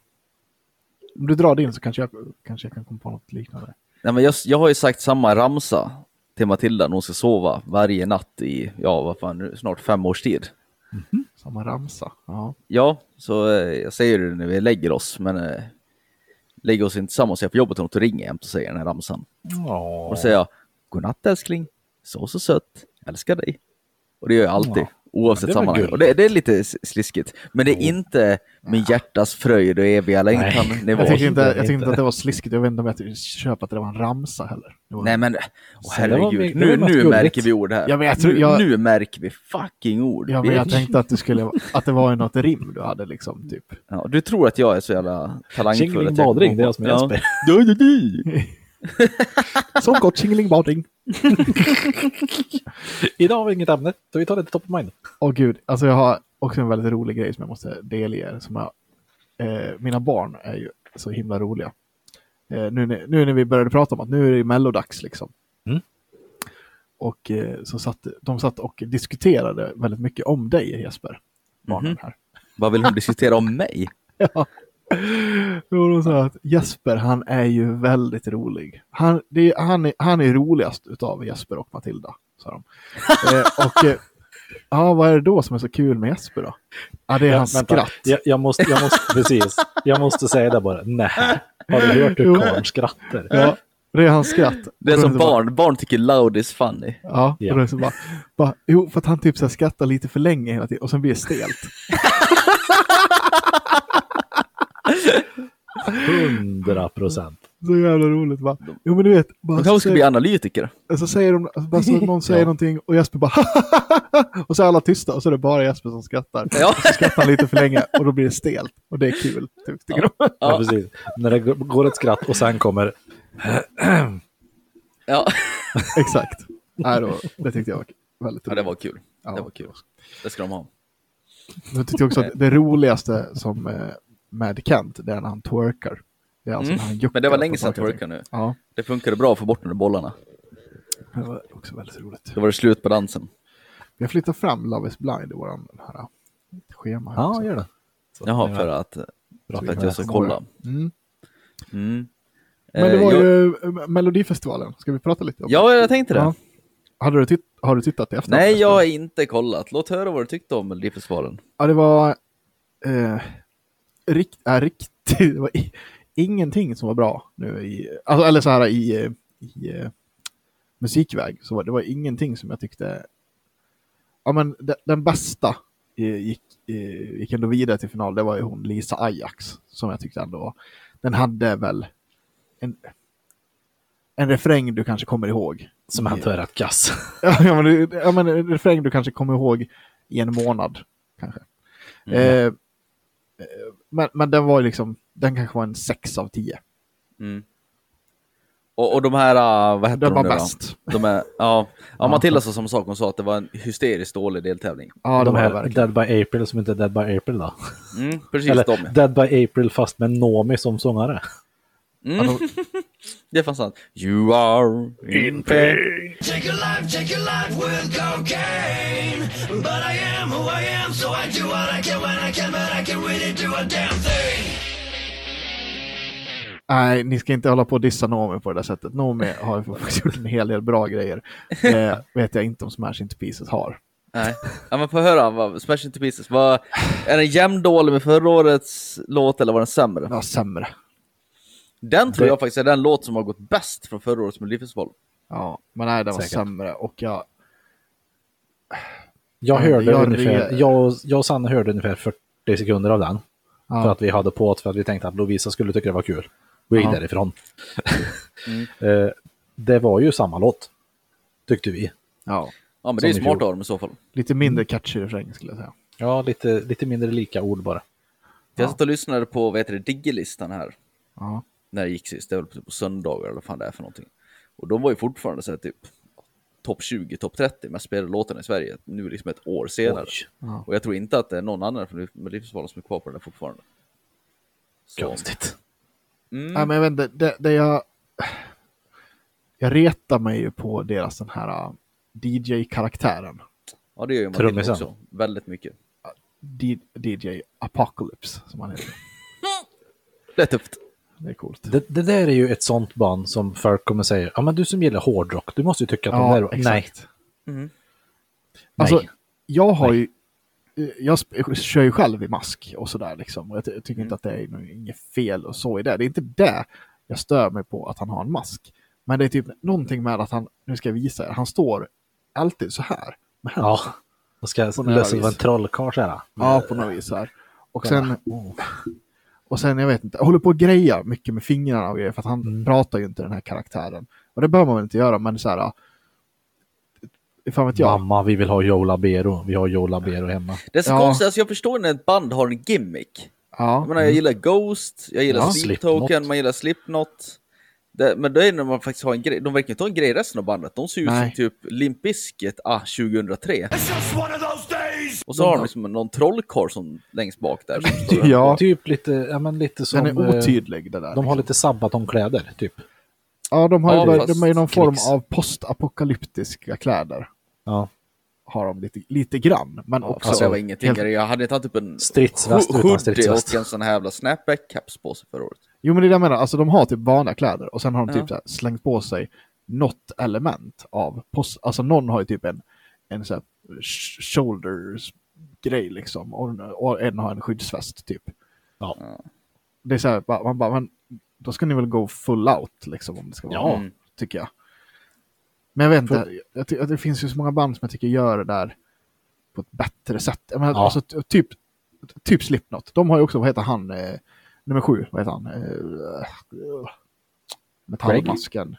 S2: Om du drar din så kanske jag, kanske jag kan komma på något liknande.
S4: Nej, men jag, jag har ju sagt samma ramsa till Matilda när hon ska sova varje natt i, ja vad fan, nu, snart fem års tid.
S2: Samma ramsa. Ja.
S4: Ja, så eh, jag säger det när vi lägger oss, men eh, lägger oss inte tillsammans. Jag är på jobbet och då ringer jag jämt och säger den här ramsan. Och då
S3: Ja.
S4: säger jag, godnatt älskling, så så sött, älskar dig. Och det gör jag alltid,
S3: Ja.
S4: oavsett
S3: Ja, det var
S4: sammanhang.
S3: gulligt. Oh.
S4: Och det, det är lite s- sliskigt, men det är inte min hjärtas fröjd och eviga längtan-nivå.
S2: Jag tyckte, inte,
S3: det
S2: jag tyckte
S3: inte.
S2: inte att det var sliskigt. Jag vet inte om jag köpte att det var en ramsa heller. Det var-
S4: Nej men, åh,
S3: Så det var
S4: herregud.
S3: vi- det var
S4: Nu,
S3: något
S4: nu
S3: gulligt.
S4: märker vi ord här.
S2: Jag vet,
S4: nu,
S2: jag-
S4: nu märker vi fucking ord.
S2: Ja, men jag
S4: bitch.
S2: tänkte att, det skulle, att det var ju något rim du hade liksom, typ.
S4: Ja, du tror att jag är så jävla talangfull.
S3: Tjingeling
S4: att jag kommer
S3: badring, det är jag
S4: på-
S3: som är Jesper.
S4: Ja. Du, du, du.
S2: Som gott tjingelingbading.
S3: Idag har vi inget ämne, så vi tar lite top of mind.
S2: Åh gud, alltså jag har också en väldigt rolig grej som jag måste delge er. Som jag, eh, mina barn är ju så himla roliga. Eh, nu, när- nu när vi började prata om att nu är det ju mellodags liksom.
S3: Mm.
S2: Och eh, så satt de satt och diskuterade väldigt mycket om dig Jesper. Barnen här.
S4: Vad vill hon diskutera om mig?
S2: Ja. Då var de så här att Jesper, han är ju väldigt rolig. Han, det är, han, är, han är roligast utav Jesper och Matilda, sa de. eh, och, eh, ja, vad är det då som är så kul med Jesper då? Ja, det är hans
S3: vänta.
S2: skratt.
S3: Jag, jag, måste, jag, måste, precis. jag måste säga det bara. Nej, har du hört hur karln skrattar?
S2: Ja, det är hans skratt.
S4: Det är
S2: Och
S4: som
S2: då så bara-
S4: barn, barn tycker loud is funny.
S2: Ja,
S3: Ja.
S2: och då är det så bara, bara, jo, för att han typ så här skrattar lite för länge hela tiden och sen blir det stelt.
S3: 100 procent.
S2: Så jävla roligt va? Jo men du vet. Bara, så
S4: De kanske ska
S2: säger-
S4: bli analytiker.
S2: så säger de, alltså, bara så att någon säger någonting och Jesper bara och så är alla tysta och så är det bara Jesper som skrattar.
S4: Ja.
S2: Så skrattar han lite för länge och då blir det stelt och det är kul. Typ, tycker de.
S3: Ja, precis. När det går ett skratt och sen kommer
S4: Ja.
S2: Exakt. Nej, då, det tyckte jag var väldigt
S4: ja, det var kul. Det
S2: Ja.
S4: var kul. Det ska de ha.
S2: Jag tyckte också att det roligaste som eh, med Kent, det är när han twerkar. Det är alltså
S4: Mm.
S2: när han juckar
S4: Men det var
S2: på
S4: länge sedan
S2: saker och
S4: twerkar nu.
S2: ting. Ja,
S4: Det funkade bra att få bort de där bollarna.
S2: det var också väldigt roligt.
S4: Då var det slut på dansen.
S2: Vi har flyttat fram Love is blind i våran här, schema. här
S3: Ja,
S2: också.
S3: gör det. Så,
S4: Jaha,
S3: ja.
S4: för att,
S3: Bra.
S4: för att jag ska
S2: Ja.
S4: kolla.
S2: Mm.
S4: Mm.
S2: Men det
S4: Eh,
S2: var
S4: jag,
S2: ju eh, Melodifestivalen, ska vi prata lite om
S4: Ja, jag tänkte det.
S2: Ja. Hade du titt- har du tittat i efterhand?
S4: Nej, jag har inte kollat. Låt höra vad du tyckte om Melodifestivalen.
S2: Ja, det var... Eh, rikt, äh, riktigt... Det var i, ingenting som var bra nu i... Alltså, eller så här i, eh, i eh, musikväg. Så var, det var ingenting som jag tyckte... Ja, men de, den bästa eh, gick, eh, gick ändå vidare till final. Det var ju hon Lisa Ajax som jag tyckte ändå... Den hade väl en, en refräng du kanske kommer ihåg.
S3: Som han tar rätt kass.
S2: Ja, men, det- ja, men en refräng du kanske kommer ihåg i en månad. Kanske.
S4: Mm.
S2: Eh, eh, men, men den var ju liksom, den kanske var en 6 av 10.
S4: Mm. Och, och de här, eh, vad heter
S2: Den var
S4: de nu
S2: bäst.
S4: då? De är, ja, ja, Matilda sa samma sak. Hon sa att det var en hysteriskt dålig deltävling.
S2: Ja, det
S3: de
S2: var det
S3: här
S2: verkligen.
S3: Dead by April som inte är Dead by April då.
S4: Mm, precis
S3: Eller
S4: de. ja.
S3: Dead by April fast med Nomi som sångare.
S4: Mm. det fanns sant. You are in pain.
S5: Take a life, take a life with cocaine. But I am who I am, so I do what I can when I can, but I can really do a damn thing.
S2: Nej, ni ska inte hålla på och dissa Nomi på det där sättet. Nomi har ju faktiskt gjort en hel del bra grejer. Det vet jag inte om Smash Into Pieces har.
S4: Nej. Ja, men få höra, vad, Smash Into Pieces. Vad, är den jämndålig med förra årets låt eller var den sämre?
S2: Det var sämre.
S4: Den tror
S3: Det-
S4: jag faktiskt är den låt som har gått bäst från förra årets Melodifestival.
S2: Ja, men nej, den var
S3: Säkert.
S2: sämre. Och jag,
S3: Jag
S2: Ja,
S3: hörde
S2: jag
S3: ungefär,
S2: re-
S3: jag, och- jag och Sanna hörde ungefär 40 sekunder av den.
S2: Ja.
S3: För att vi hade på för att vi tänkte att Lovisa skulle tycka det var kul. Vi gick
S2: Ja.
S3: därifrån. Eh, det var ju samma låt, tyckte vi.
S2: ja,
S4: Ja, men det är ju
S3: Som i
S4: smart
S3: fjol.
S4: av dem i så fall.
S2: lite mindre catchy refräng skulle jag säga.
S3: Ja, lite, lite mindre lika ord bara.
S4: För Jag satt och lyssnade på, vad heter det, Diggelistan här.
S2: Ja.
S4: När det gick sist, det var väl på söndagar eller vad fan det är för någonting. Och de var ju fortfarande så här typ topp 20, topp 30 mest spelade låtarna i Sverige. Nu liksom ett år senare.
S2: Ja.
S4: Och jag tror inte att det är någon annan från Melodifestivalen som är kvar på den här fortfarande. Så,
S3: Konstigt.
S4: mm,
S2: Ja, men jag vet inte, det, det jag... Jag retar mig ju på deras den här äh, DJ-karaktären.
S4: ja, det gör ju Matilda
S3: Trummisen.
S4: också. Väldigt mycket.
S2: D- DJ Apocalypse, som han heter.
S4: Det är tufft.
S2: Det är coolt.
S3: Det, det där är ju ett sånt band som folk kommer säga, ja men du som gillar hårdrock, du måste ju tycka att de där var... Nej,
S2: Alltså,
S3: Nej.
S2: jag har ju... Jag sp- kör ju själv i mask och sådär liksom. Och jag, ty- jag tycker inte att det är nå- inget fel och så i det. Det är inte det jag stör mig på, att han har en mask. Men det är typ någonting med att han, nu ska jag visa er, han står alltid så här. Med händerna.
S3: ja. De ska
S2: något
S3: lösa
S2: vis.
S3: vara en trollkarl så här.
S2: Ja, på något vis. Så här. Och sen,
S4: oh.
S2: och sen, jag vet inte, jag håller på och grejar mycket med fingrarna och grejer för att han
S4: Mm.
S2: pratar ju inte den här karaktären. Och det bör man väl inte göra, men så här, äh, fan vet jag.
S3: Mamma, vi vill ha Joe Labero. Vi har Joe Labero hemma.
S4: Det är så
S2: Ja.
S4: konstigt, alltså jag förstår när ett band har en gimmick. Jag
S2: Ja, Mm.
S4: menar, jag gillar Ghost, jag gillar
S3: Ja.
S4: Sleep
S3: Slipknot.
S4: Token, man gillar Slipknot. Det, men då är det när man faktiskt har en grej, de verkar inte ha en grej i resten av bandet. De ser ju ut som
S2: Nej.
S4: typ Limp Bizkit, ah, 2003.
S5: It's just one of those days.
S4: Och så har de liksom någon trollkarl som längst bak där. Som står där.
S2: ja
S3: Typ lite, ja men lite som...
S2: den är
S3: eh,
S2: otydlig det där.
S3: De har
S2: liksom.
S3: lite sabatonkläder, typ.
S2: Ja, de har
S4: Ja,
S2: ju börjat-
S4: fast
S2: de har ju någon form
S3: krigs-
S2: av postapokalyptiska kläder.
S3: Ja.
S2: Har de lite, lite grann, men också...
S4: Fast jag var ingenting.
S2: helt-
S4: Jag hade tagit typ en
S3: Stridsväst
S4: ho-
S3: utan
S4: hoodie
S3: stridsväst.
S4: och en sån här jävla snapback-caps på sig förra året.
S2: Jo, men det är det jag menar. Alltså, de har typ vanliga kläder och sen har de
S4: Ja.
S2: typ så här, slängt på sig något element av post. Alltså någon har ju typ en, en så här sh- shoulders-grej liksom och, och en har en skyddsväst typ.
S3: Ja.
S2: Det är så här, bara- man bara, men då ska ni väl gå full out liksom om det ska vara
S3: Ja.
S2: någon, tycker jag. Men jag vet inte, jag ty- det finns ju så många band som jag tycker gör det där på ett bättre sätt. Jag menar,
S3: Ja.
S2: alltså, t- typ, typ Slipknot. De har ju också, vad heter han, eh, nummer sju, vad heter han? Eh, metallmasken.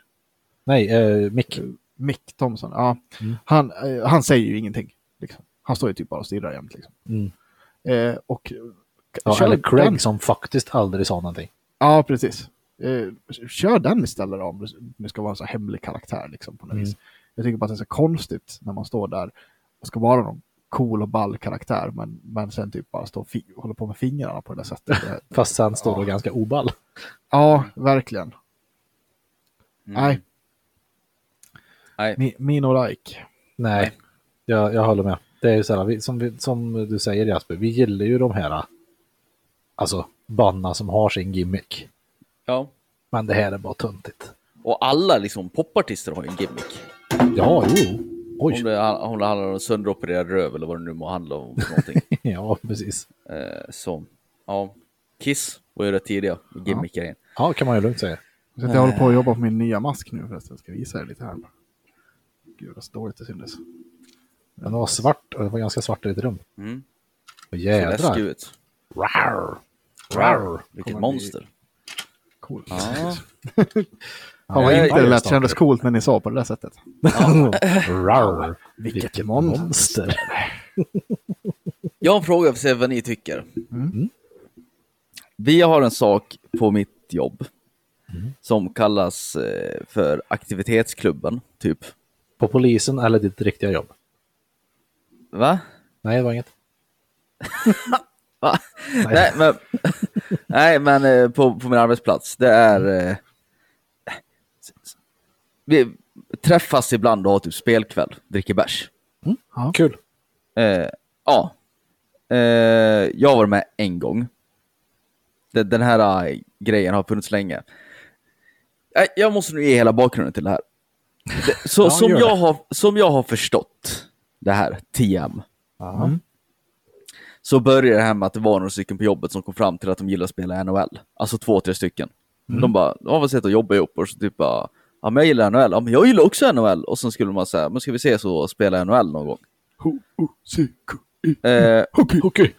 S3: Nej, eh, Mick.
S2: Mick Thompson, ja.
S3: Mm.
S2: Han, eh, han säger ju ingenting. Liksom. Han står ju typ bara och stirrar jämt. Liksom.
S3: Mm.
S2: Eh, och,
S3: Ja,
S2: kör
S3: eller
S2: den.
S3: Craig som faktiskt aldrig sa någonting.
S2: Ja, precis. Eh, kör den istället då, om det nu ska vara en så här hemlig karaktär. Liksom, på något
S3: Mm.
S2: vis. Jag tycker bara att det är så konstigt när man står där och ska vara någon cool och ball karaktär, men, men sen typ bara står och fi- håller på med fingrarna på det där sättet. Det-
S3: Fast sen står
S2: Ja.
S3: det ganska oball.
S2: ja, verkligen.
S4: Mm.
S2: Nej.
S4: Nej.
S2: Mi- Mino Like.
S3: Nej, jag, jag håller med. Det är ju så här, vi, som, vi, som du säger Jasper, vi gillar ju de här alltså banna som har sin gimmick.
S4: Ja.
S3: Men det här är bara töntigt.
S4: Och alla liksom popartister har ju en gimmick.
S3: Ja, jo.
S4: Om
S3: Oj,
S4: det, han- om det handlar om sönderopererad röv eller vad det nu må handla om för någonting.
S3: ja precis.
S4: eh, så, ja. Kiss var ju rätt tidiga med gimmickar igen.
S3: Ja, kan man ju lugnt säga.
S2: Så att jag håller på att jobba på min nya mask nu förresten. Jag ska visa er lite här. Gud vad dåligt det syntes.
S3: Men det var svart och det var ganska svart i ditt rum.
S4: Mm.
S3: Och
S4: Så
S3: jädrar.
S4: läskig ut.
S3: Rar. Rar.
S4: Vilket monster.
S2: Coolt.
S4: Ja.
S2: Fan vad
S4: Nej,
S2: inte det
S3: jag
S2: lät
S3: startar.
S2: kändes coolt när ni sa på det där sättet.
S3: Rar.
S2: Vilket monster.
S4: Jag har en fråga för att se vad ni tycker. Vi har en sak på mitt jobb som kallas eh, för aktivitetsklubben, typ.
S3: På polisen eller ditt riktiga jobb?
S4: Va?
S3: Nej, det var inget.
S4: Va? Nej, men, nej, men eh, på, på min arbetsplats, det är... Eh, vi träffas ibland och har typ spelkväll, dricker bärs.
S2: Ja.
S3: Kul.
S4: Eh, ja. Eh, jag var med en gång. Den, den här eh, grejen har funnits länge. Nej, jag måste nu ge hela bakgrunden till det här. Det, så,
S3: Ja,
S4: som,
S3: gör
S4: jag
S3: det.
S4: har, som jag har förstått det här, TM,
S3: Ja.
S4: så började det här med att det var några stycken på jobbet som kom fram till att de gillar att spela NHL. Alltså två, tre stycken.
S3: Mm.
S4: De bara, de har väl sett att jobba ihop och så typ bara, ja men jag gillar NHL, ja men jag gillar också NHL. Och sen skulle man säga, men ska vi ses och spela NHL någon gång?
S2: H-O-C-K-I.
S4: Eh,
S2: Hockey. Hockey.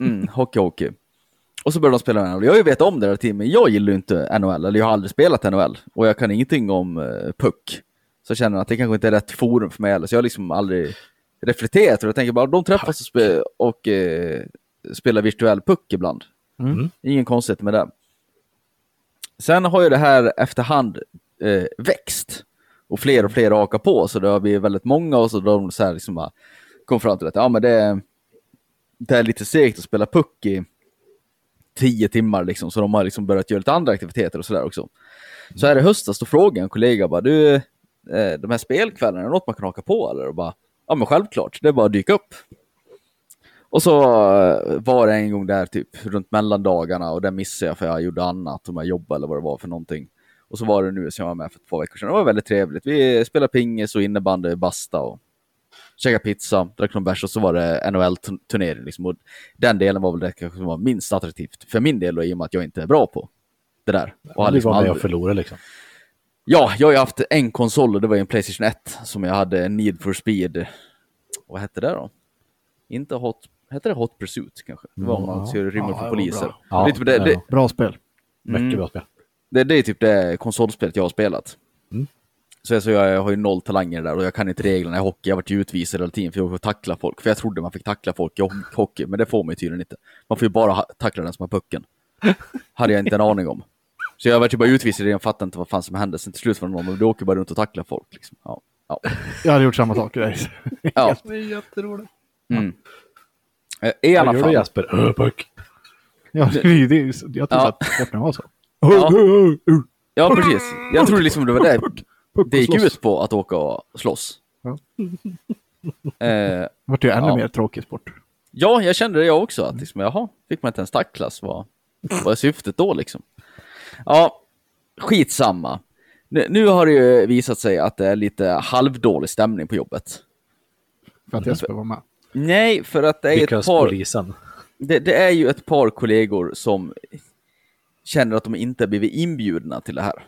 S4: Mm, hockey, hockey. Och så började de spela NHL. Jag har ju vetat om det där timmen. Jag gillar ju inte NHL, eller jag har aldrig spelat NHL. Och jag kan ingenting om eh, puck. Så jag känner att det kanske inte är rätt forum för mig heller. Så jag har liksom aldrig reflekterat. Och jag tänker bara, de träffas och, spe- och eh, spelar virtuell puck ibland.
S2: Mm.
S4: Ingen konstigt med det. Sen har ju det här efterhand eh, växt. Och fler och fler har hakat på. Så det har blivit väldigt många. Och så har de så här liksom bara kom fram till att ja, men det är det är lite segt att spela puck i tio timmar liksom, så de har liksom börjat göra lite andra aktiviteter och sådär också. Så här i höstas då frågade jag en kollega bara, du, eh, de här spelkvällarna, är det något man kan haka på eller? Och bara, ja men självklart, det är bara att dyka upp. Och så eh, var det en gång där typ runt mellandagarna och det missade jag för jag gjorde annat, om jag jobbade eller vad det var för någonting. Och så var det nu som jag var med för två veckor sedan. Det var väldigt trevligt. Vi spelade pingis och innebandy, basta och käkade pizza, drack någon bärs och så var det NHL-turnering. Liksom. Och Den delen var väl det kanske som var minst attraktivt för min del och i och med att jag inte är bra på det där. Och har
S3: Men du
S4: liksom
S3: var med
S4: aldrig-
S3: och förlorade liksom.
S4: Ja, jag har ju haft en konsol och det var ju en Playstation 1 som jag hade en Need for Speed. Vad hette det då? Inte Hot... Hette det Hot Pursuit kanske? Det var om man skulle rymma
S2: Mm. Ja, det
S4: från
S2: var
S4: poliser.
S2: bra.
S4: Det är typ det, det,
S2: Bra spel.
S3: Mycket
S4: Mm.
S3: bra spel.
S4: det, det är typ det konsolspelet jag har spelat.
S3: Mm.
S4: Så jag, så jag har ju noll talanger där och jag kan inte reglerna i hockey. Jag har varit utvisad hela tiden för jag får tackla folk. För jag trodde man fick tackla folk i ho- hockey, men det får man ju tydligen inte. Man får ju bara ha- tackla den som har pucken. Hade jag inte en aning om. Så jag var typ bara utvisad jag fattade inte vad fan som hände. Sen till slut var det någon, men du åker bara runt och tacklar folk. Liksom. Ja. Ja.
S2: Jag hade gjort samma sak. där.
S4: ja.
S3: Det är jätteroligt.
S4: Mm. Eh, I alla
S3: Vad gör du
S4: fall.
S3: Jasper? Öh, puck.
S2: Ja, det, är- det, är- jag tror
S4: Ja.
S2: att sporten var så.
S4: Ja. Ja, precis. Jag trodde liksom det var det det gick ut på, att åka och slåss.
S2: Ja.
S4: Eh,
S2: Det vart ju ännu
S4: Ja.
S2: mer tråkig sport.
S4: Ja, jag kände det jag också. Att liksom, jaha, fick man inte ens tacklas? Vad, vad är syftet då liksom? Ja, skitsamma. Nu, nu har det ju visat sig att det är lite halvdålig stämning på jobbet.
S2: För
S4: Mm.
S2: att Jesper var med.
S4: Nej, för att det är ju ett
S3: Lyckas
S4: par,
S3: polisen.
S4: det, det är ju ett par kollegor som känner att de inte blivit inbjudna till det här.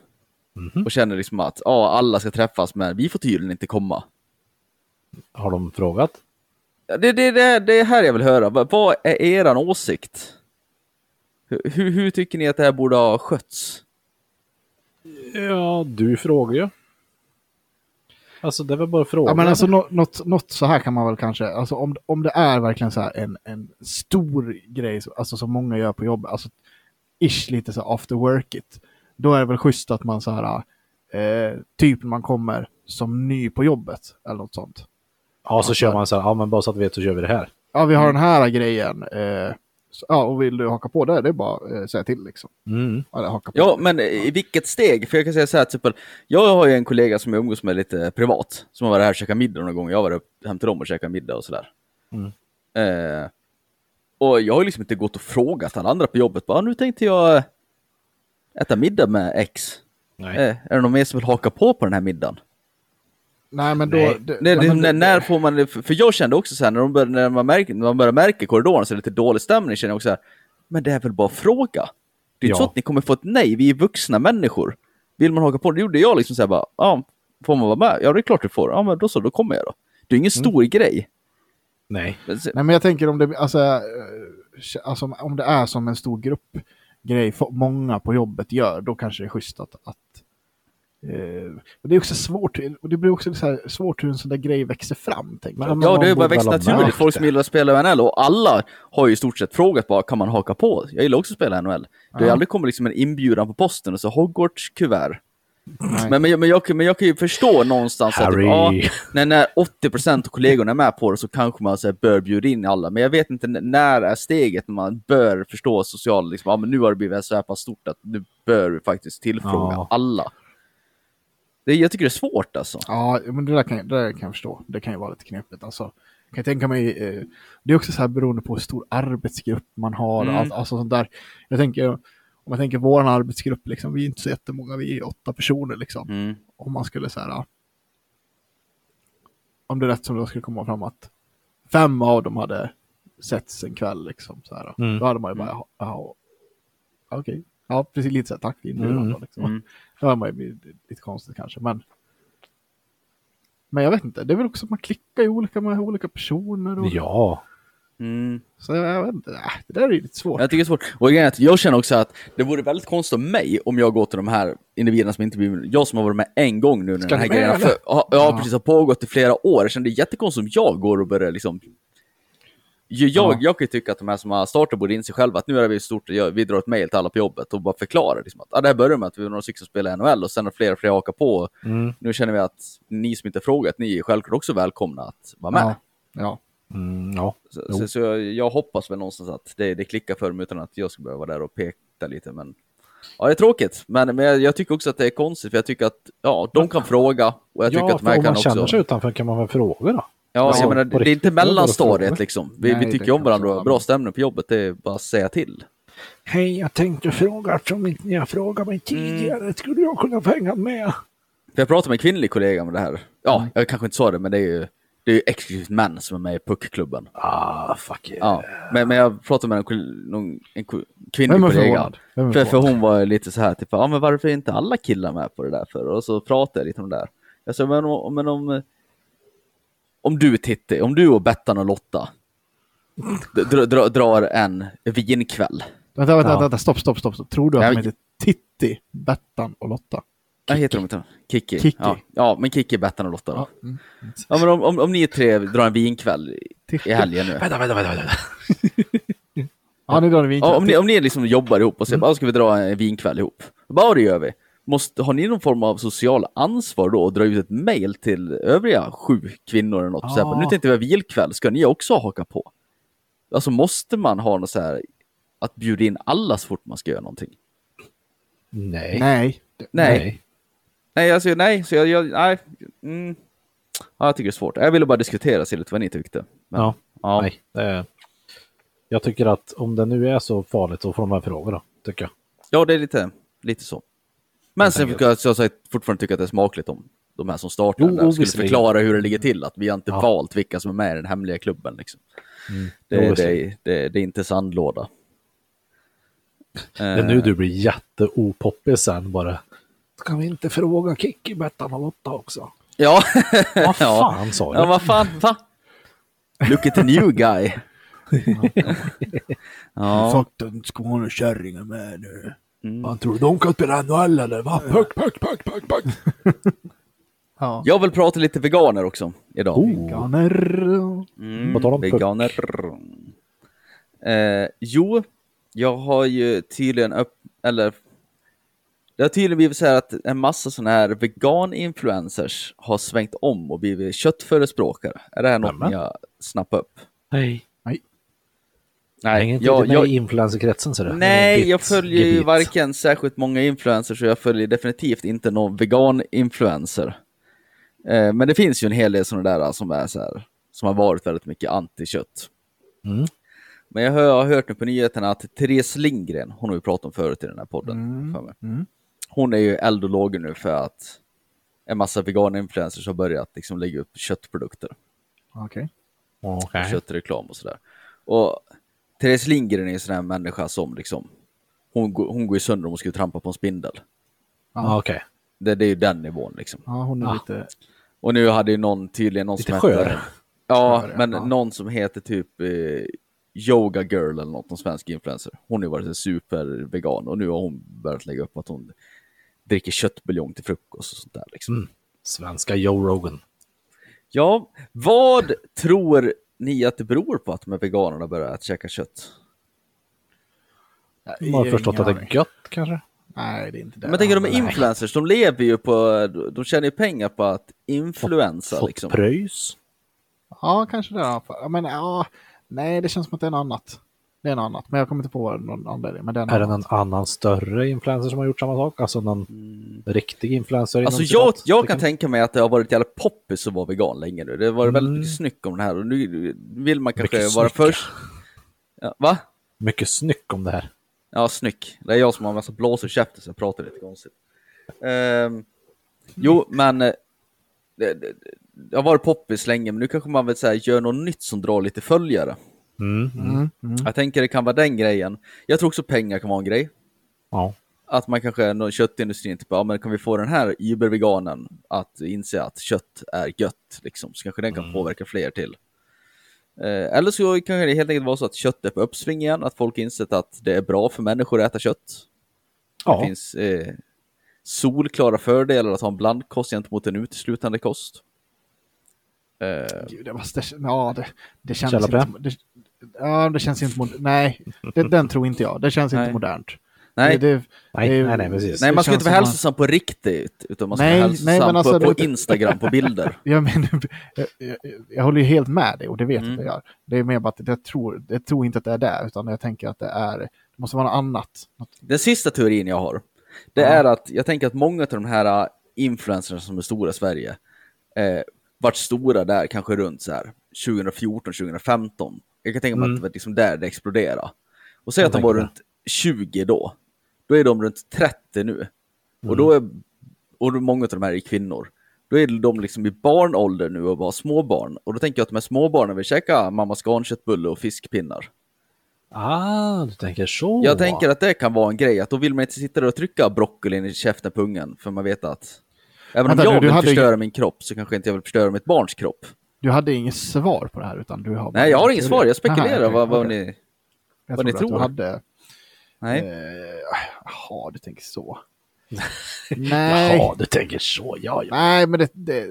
S4: Och känner liksom att ja, alla ska träffas, men vi får tydligen inte komma.
S3: Har de frågat?
S4: Ja, Det, det, det, det är här jag vill höra. Vad, vad är eran åsikt? Hur, hur, hur tycker ni att det här borde ha skötts?
S3: Ja, du frågar ju. Alltså det var bara frågan.
S2: Ja, men alltså nå- något, något så här kan man väl kanske, alltså om, om det är verkligen så här en, en stor grej, så- alltså som många gör på jobbet, alltså ish lite så här after work it, då är det väl schysst att man så här, eh, typ när man kommer som ny på jobbet eller något sånt.
S3: ja så kör man så här, ja men bara så att vi vet så kör vi det här.
S2: Ja, vi
S4: Mm.
S2: har den här grejen, eh, så, ja, och vill du haka på det, det är bara eh, säga till liksom. Eller haka på.
S4: Mm. Ja, men i vilket steg? För jag kan säga så här, till exempel, jag har ju en kollega som jag umgås med lite privat, som har varit här och käkat middag någon gång. Jag var där upp- hem till dem och käkat middag och sådär. Eh, och jag har ju liksom inte gått och frågat alla andra på jobbet, bara nu tänkte jag äta middag med X.
S3: Nej.
S4: Eh, är det någon mer som vill haka på på den här middagen?
S2: Nej, men då...
S3: Nej.
S2: det-
S4: Nej,
S2: ja,
S4: det,
S2: men-
S4: när, när får man det? För för jag kände också så här, när, de började, när man, märker, när man börjar märka i korridoren så är det lite dålig stämning, känner jag också så här, men det är väl bara att fråga? Det är ju inte
S3: Ja.
S4: så att ni kommer få ett nej, vi är vuxna människor. Vill man haka på, det gjorde jag liksom så här bara, ja, får man vara med? Ja, det är klart du får. Ja, men då så, då kommer jag då. Det är ingen stor grej.
S3: Nej.
S4: Men se-
S2: Nej, men jag tänker om det, alltså, eh, alltså, om- om det är som en stor grupp grej fo- många på jobbet gör, då kanske det är schysst att... att eh, men det är också svårt, och det blir också så här svårt hur en sån där grej växer fram. Tänker
S3: Men-
S2: jag.
S4: Ja, det har ju
S3: man
S4: bara
S3: borde
S4: växt
S3: väl ha
S4: naturligt.
S3: märkt
S4: Folk som
S3: det.
S4: gillar att spela NHL och alla har ju i stort sett frågat bara, kan man haka på? Jag gillar också att spela NHL. Det har ju aldrig kommit liksom en inbjudan på posten och så Hogwarts kuvert.
S2: Nej.
S4: Men, men, jag- men, jag, kan- men jag kan ju förstå någonstans
S3: Harry.
S4: att typ, ja, när, när 80% av kollegorna är med på det så kanske man så här, bör bjuda in alla. Men jag vet inte n- när är steget när man bör förstå social, liksom, ja, men nu har det blivit så här pass stort att nu bör vi faktiskt tillfråga
S3: Ja.
S4: alla. Det, jag tycker det är svårt alltså.
S2: Ja, men det där, kan, jag- det där kan jag förstå. Det kan ju vara lite knepigt. Alltså, jag kan tänka mig, eh, det är också så här beroende på hur stor arbetsgrupp man har.
S4: Mm.
S2: Allt, alltså sånt där. Jag tänker, om jag tänker vår arbetsgrupp, liksom, vi är inte så jättemånga, vi är åtta personer. Liksom.
S4: Mm.
S2: Om man skulle så här, ja, om det är rätt som det skulle komma fram att fem av dem hade setts en kväll. Liksom, så här,
S3: Mm.
S2: Då hade man ju bara, ja, ja, okej. Ja, precis lite så här, tack för inbjudan.
S3: Mm.
S2: då, Liksom.
S4: Mm.
S2: Då hade man ju blivit lite konstigt kanske, men men jag vet inte, det är väl också att man klickar i olika med olika personer. Och...
S3: Ja.
S4: Mm.
S2: Så jag vet inte, äh, det där är ju lite svårt.
S4: Jag tycker det är svårt. Och grejen är att jag känner också att det vore väldigt konstigt av mig om jag går till de här individerna som inte blir Jag som har varit med en gång nu när
S2: Ska
S4: den här
S2: du med,
S4: grejen har
S2: eller?
S4: för, ja, ja, precis, har pågått i flera år. Jag känner det är jättekonstigt om jag går och börjar liksom... Ju- Jag,
S2: Ja.
S4: jag kan ju tycka att de här som har startat borde inse själva att nu är det stort, jag- vi drar ett mejl till alla på jobbet och bara förklarar liksom att ah, det här börjar med att vi var några stycken som spelade NHL och sen har fler och fler hakat på. Och
S3: Mm.
S4: Nu känner vi att ni som inte har frågat, ni är självklart också välkomna att vara med.
S2: Ja, ja.
S3: Mm, ja.
S4: Så, så, så jag, jag hoppas väl någonstans att det, det klickar för mig utan att jag ska behöva vara där och peka lite. Men, ja, det är tråkigt, men, men jag, jag tycker också att det är konstigt för jag tycker att ja, de kan fråga och jag tycker
S3: ja,
S4: att de här
S3: för om
S4: kan
S3: man känner
S4: också...
S3: sig utanför kan man väl fråga då?
S4: Ja,
S3: Alltså,
S4: jag menar,
S3: på
S4: det är
S3: riktigt,
S4: inte
S3: det är bara
S4: mellanstadiet
S3: frågor.
S4: liksom. Vi,
S2: Nej,
S4: vi
S2: det
S4: tycker ju om
S2: kan
S4: varandra och
S2: jag
S4: har
S2: förstå.
S4: bra stämning på jobbet, det är bara att säga till.
S3: Hej, jag tänkte fråga eftersom inte ni har frågat
S4: Mm.
S3: mig tidigare. Skulle jag kunna få hänga med?
S4: För jag pratade med en kvinnlig kollega om det här. Ja, jag kanske inte sa det, men det är ju, det är ju exklusivt män som är med i puckklubben.
S3: Ah, fuck it.
S4: Ja, men, men jag pratade med en, kol- någon, en ko- kvinnlig
S2: Vem är
S4: kollega.
S2: förvånad? Vem är
S4: För, för
S2: förvånad?
S4: hon var lite så här, typ, ja men varför är inte alla killar med på det där för? Och så pratade jag lite om det där. Jag sa, men, om- men om, om du Titti, om du och Bettan och Lotta dr, dr, drar en vinkväll.
S2: Vänta, vänta,
S3: Ja.
S2: vänta, stopp, stopp, stopp. stopp. Tror du att
S4: Nej,
S2: de
S4: men-
S2: heter Titti, Bettan och Lotta?
S4: Vad heter de inte? Kikki.
S2: Kikki.
S4: Ja, ja, men Kikki, Bettan och Lotta.
S2: Ja. mm.
S4: då. Ja, men om, om, om ni tre drar en vinkväll i-
S2: Titti.
S4: i helgen nu.
S3: Vänta, vänta, vänta. vänta.
S2: Ja, nu drar vi
S4: Ja, om
S2: vinkväll.
S4: ni, om ni liksom jobbar ihop och säger bara, ska vi dra en vinkväll ihop? Bara det gör vi. Måste, har ni någon form av social ansvar då och dra ut ett mejl till övriga sju kvinnor eller något? och
S3: Ja.
S4: säga, bara, nu tänkte vi ha vilkväll, ska ni också haka på? Alltså måste man ha något så här att bjuda in alla så fort man ska göra någonting?
S3: Nej.
S2: Nej.
S4: Nej, nej, alltså, nej, så jag, jag nej. Mm. Ja, jag tycker det är svårt. Jag ville bara diskutera sig lite vad ni tyckte. Men,
S3: Ja.
S4: ja.
S3: Nej. Det är... Jag tycker att om det nu är så farligt så får de väl fråga då, tycker jag.
S4: Ja, det är lite, lite så. Men sen fick jag, så jag fortfarande tycka att det är smakligt om de här som startar
S3: Jo,
S4: den där skulle
S3: visserligen.
S4: förklara hur det ligger till, att vi har inte
S3: Ja. Mm.
S4: valt vilka som är med i den hemliga klubben. Liksom.
S3: Jo,
S4: Det,
S3: visserligen.
S4: det, det, det är inte sandlåda.
S3: Det är
S4: Eh.
S3: nu du blir jätteopoppig sen bara. Ska vi inte fråga Kikki, Bettan och Lotta också?
S4: Ja,
S3: Vad
S4: Ja.
S3: fan sa
S4: ja
S3: jag?
S4: vad fan. Va? Look at the new guy. ja.
S2: Fuck den skånekärringen med nu. Han tror de kan spela NHL eller va? Puck, puck, puck, puck, puck. ja.
S4: Jag vill prata lite veganer också
S2: Oh.
S4: idag.
S3: Oh.
S2: Veganer.
S4: Mm,
S3: På tal om puck.
S4: veganer. Eh, jo, jag har ju tydligen upp, eller det har tydligen blivit så här att en massa sådana här vegan-influencers har svängt om och blivit köttförespråkare. Är det här något
S3: Nämen.
S4: jag snappar upp?
S3: Nej.
S4: Nej,
S3: Hänger inte
S4: jag,
S3: jag, med
S4: jag,
S3: i influencerkretsen ser du.
S4: Nej,
S3: Ditt
S4: jag följer ju
S3: gebit.
S4: varken särskilt många influencers och jag följer definitivt inte någon vegan-influencer. Eh, men det finns ju en hel del sådana där eh, som, är så här, som har varit väldigt mycket anti-kött.
S3: Mm.
S4: Men jag hör- har hört nu på nyheterna att Therese Lindgren, hon har vi pratat om förut i den här podden, för mig.
S2: mm.
S4: hon är ju eld och lågor nu för att en massa vegan-influencers har börjat liksom lägga upp köttprodukter
S2: Okej.
S3: Okej.
S4: köttreklam och sådär. Och Therese Lindgren är en sån här människa som liksom, hon, går- hon går ju sönder om hon skulle trampa på en spindel.
S3: Ja, okej.
S4: Det, det är ju den nivån liksom.
S2: Ja, hon är
S3: Ah.
S2: lite...
S4: Och nu hade ju någon tydligen någon
S3: Lite
S4: som
S3: skör.
S4: hette... Ja,
S2: Skör, ja.
S4: men
S2: Ja.
S4: någon som heter typ eh, Yoga Girl eller något, någon svensk influencer. Hon har ju varit en supervegan och nu har hon börjat lägga upp att hon dricker köttbuljong till frukost och sånt där liksom.
S3: Mm. Svenska Joe Rogan.
S4: Ja, vad tror ni att det beror på att de här veganerna börjar att käka kött?
S2: Jag
S3: Man har förstått
S2: ingen
S3: att det
S2: aning.
S3: är gött kanske.
S2: Nej, det är inte det.
S4: Men jag tänker de är
S2: Nej.
S4: influencers, de lever ju på, de tjänar ju pengar på att influensa
S3: Fått
S4: liksom.
S3: pröjs.
S2: Ja, kanske det. ja. Men ja, nej, det känns som att det är något annat. Det är något annat, men jag kommer inte på vad någon anledning. Men det är något
S3: Är det
S2: annat.
S3: någon annan större influencer som har gjort samma sak? Alltså någon riktig influencer? inom
S4: Mm. Alltså jag,
S3: citat?
S4: jag
S3: Det
S4: kan tänka mig att det har varit jävla poppis att vara vegan länge nu. Det har varit väldigt mycket snyck om det här och nu vill man kanske
S3: Mm. Mycket
S4: vara
S3: snycka.
S4: först. Ja, va?
S3: Mycket snyck om det här.
S4: Ja, snyck. Det är jag som har en massa blås i käften så jag pratar lite konstigt. Ehm, jo, men eh, det, det, det har varit poppis länge, men nu kanske man vill säga gör något nytt som drar lite följare.
S3: Mm.
S2: Mm, mm.
S4: Jag tänker det kan vara den grejen. Jag tror också pengar kan vara en grej.
S3: Ja.
S4: att man kanske, någon köttindustrin, typ, ja men kan vi få den här überveganen att inse att kött är gött, liksom, så kanske den
S2: Mm.
S4: kan påverka fler till. Eh, eller så kanske det helt enkelt var så att kött är på uppsving igen, att folk insett att det är bra för människor att äta kött. Det
S3: ja.
S4: finns eh, solklara fördelar att ha en blandkost gentemot en uteslutande kost. Eh,
S2: Gud, det, var, det, ja, det, det känns
S3: Källa på
S2: inte... Det, ja, det känns inte modernt. Nej, det, den tror inte jag. Det känns
S4: Nej.
S2: inte modernt.
S4: nej,
S2: det, det,
S3: Nej,
S2: det-
S3: nej, nej, precis.
S4: nej, man ska
S2: det
S4: inte vara
S2: känns som
S4: hälsosam på riktigt, utan man ska
S2: Nej,
S4: vara
S2: nej, men
S4: hälsosam
S2: alltså,
S4: på, på
S2: det-
S4: Instagram, på bilder.
S2: Jag, menar, jag, jag, jag håller ju helt med dig och det vet
S4: Mm.
S2: jag att jag gör. Det är mer bara att jag tror, jag tror inte att det är det, utan jag tänker att det är, det måste vara något annat. Något,
S4: Den sista teorin jag har, det
S2: Ja.
S4: är att jag tänker att många av de här äh, influencerna som är stora i Sverige, eh, vart stora där kanske runt så här 2014, 2015. Jag kan tänka mig att det var liksom där det exploderade. Och säg
S3: Mm. Jag
S4: att de var
S3: tänker
S4: runt 20 då, då är de runt 30 nu. Och
S3: Mm.
S4: då är, och då många av de här är kvinnor. Då är de liksom i barnålder nu och bara småbarn. Och då tänker jag att de här småbarnen vill käka mammas garnköttbulle och fiskpinnar.
S3: Ah, du tänker så.
S4: Jag tänker att det kan vara en grej, att då vill man inte sitta där och trycka broccolin i käften på ungen, för man vet att även om
S2: Vänta,
S4: jag
S2: du- du
S4: vill
S2: hade ju-
S4: förstöra min kropp så kanske inte jag vill förstöra mitt barns kropp.
S2: du hade inget svar på det här, utan du har...
S4: Nej, jag har inget svar, jag spekulerar
S2: Aha, okej,
S4: vad, vad
S2: okej. Eh,
S4: ni...
S2: Jag
S4: vad ni
S2: trodde att
S4: tror.
S2: Du hade,
S4: Nej.
S3: Eh,
S2: jaha, du tänker så.
S3: Nej.
S2: Nej,
S3: Jaha, du tänker så. Ja, ja.
S2: Nej, men det, det...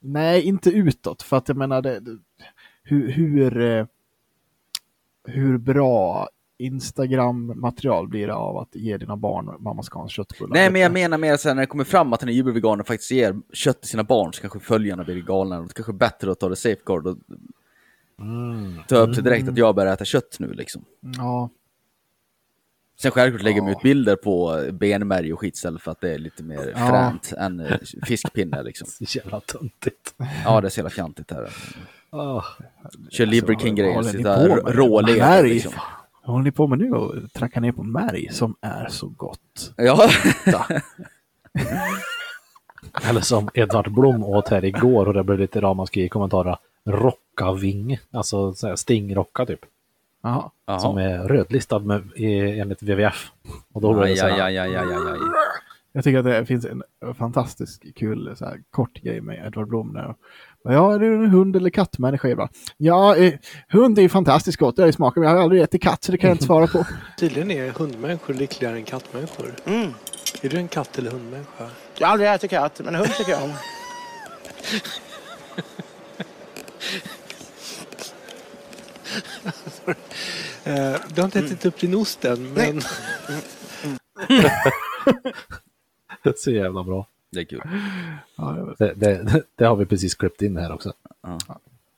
S2: Nej, inte utåt. För att jag menar, det, det, hur, hur, eh, hur bra Instagram-material blir det av att ge dina barn mammas Kahns köttbullar?
S4: Nej, men jag menar mer sen när det kommer fram att den här djurveganen faktiskt ger kött till sina barn så kanske följarna blir galna. Det kanske är bättre att ta det safeguard och
S2: Mm.
S4: ta upp det direkt att jag börjar äta kött nu liksom.
S2: Ja,
S4: Sen självklart lägger man ut bilder på benmärg och skit istället för att det är lite mer
S2: Ja.
S4: fränt än eh, fiskpinne liksom.
S3: Så jävla töntigt.
S4: Ja, det är så jävla fjantigt här.
S3: Ah.
S4: Kör Liber King-grejer,
S2: Alltså, håller ni
S4: sitta
S2: på med?
S4: rålever.
S2: Märg,
S4: Liksom.
S2: fan. Vad håller ni på med nu och trackar ner på märg som är så gott?
S4: Ja,
S3: Eller som Edvard Blom åt här igår och det blev lite ramaskri i kommentarerna. Rockaving, alltså så här stingrocka typ.
S2: Jaha.
S4: Jaha.
S3: Som är rödlistad med, i, enligt WWF. Och då blev det
S4: Aj,
S3: så här,
S4: aj, aj, aj, aj, aj, aj.
S2: Jag tycker att det finns en fantastisk kul så här, kort grej med Edvard Blom. Där. Bara, Ja, är du en hund eller kattmänniska? Jag bara, Ja, eh, hund är ju fantastiskt gott, det är smaken, men jag har aldrig ätit katt så det kan jag inte svara på.
S7: Tydligen är hundmänniskor lyckligare än kattmänniskor. Är du en katt eller hundmänniska?
S8: Mm. Jag har aldrig ätit katt, men hund tycker jag om.
S7: Eh, du har inte ätit upp din ost än, men...
S3: Så jävla bra.
S4: Det är kul.
S2: Ja, det var
S3: Det, det, det har vi precis klippt in här också.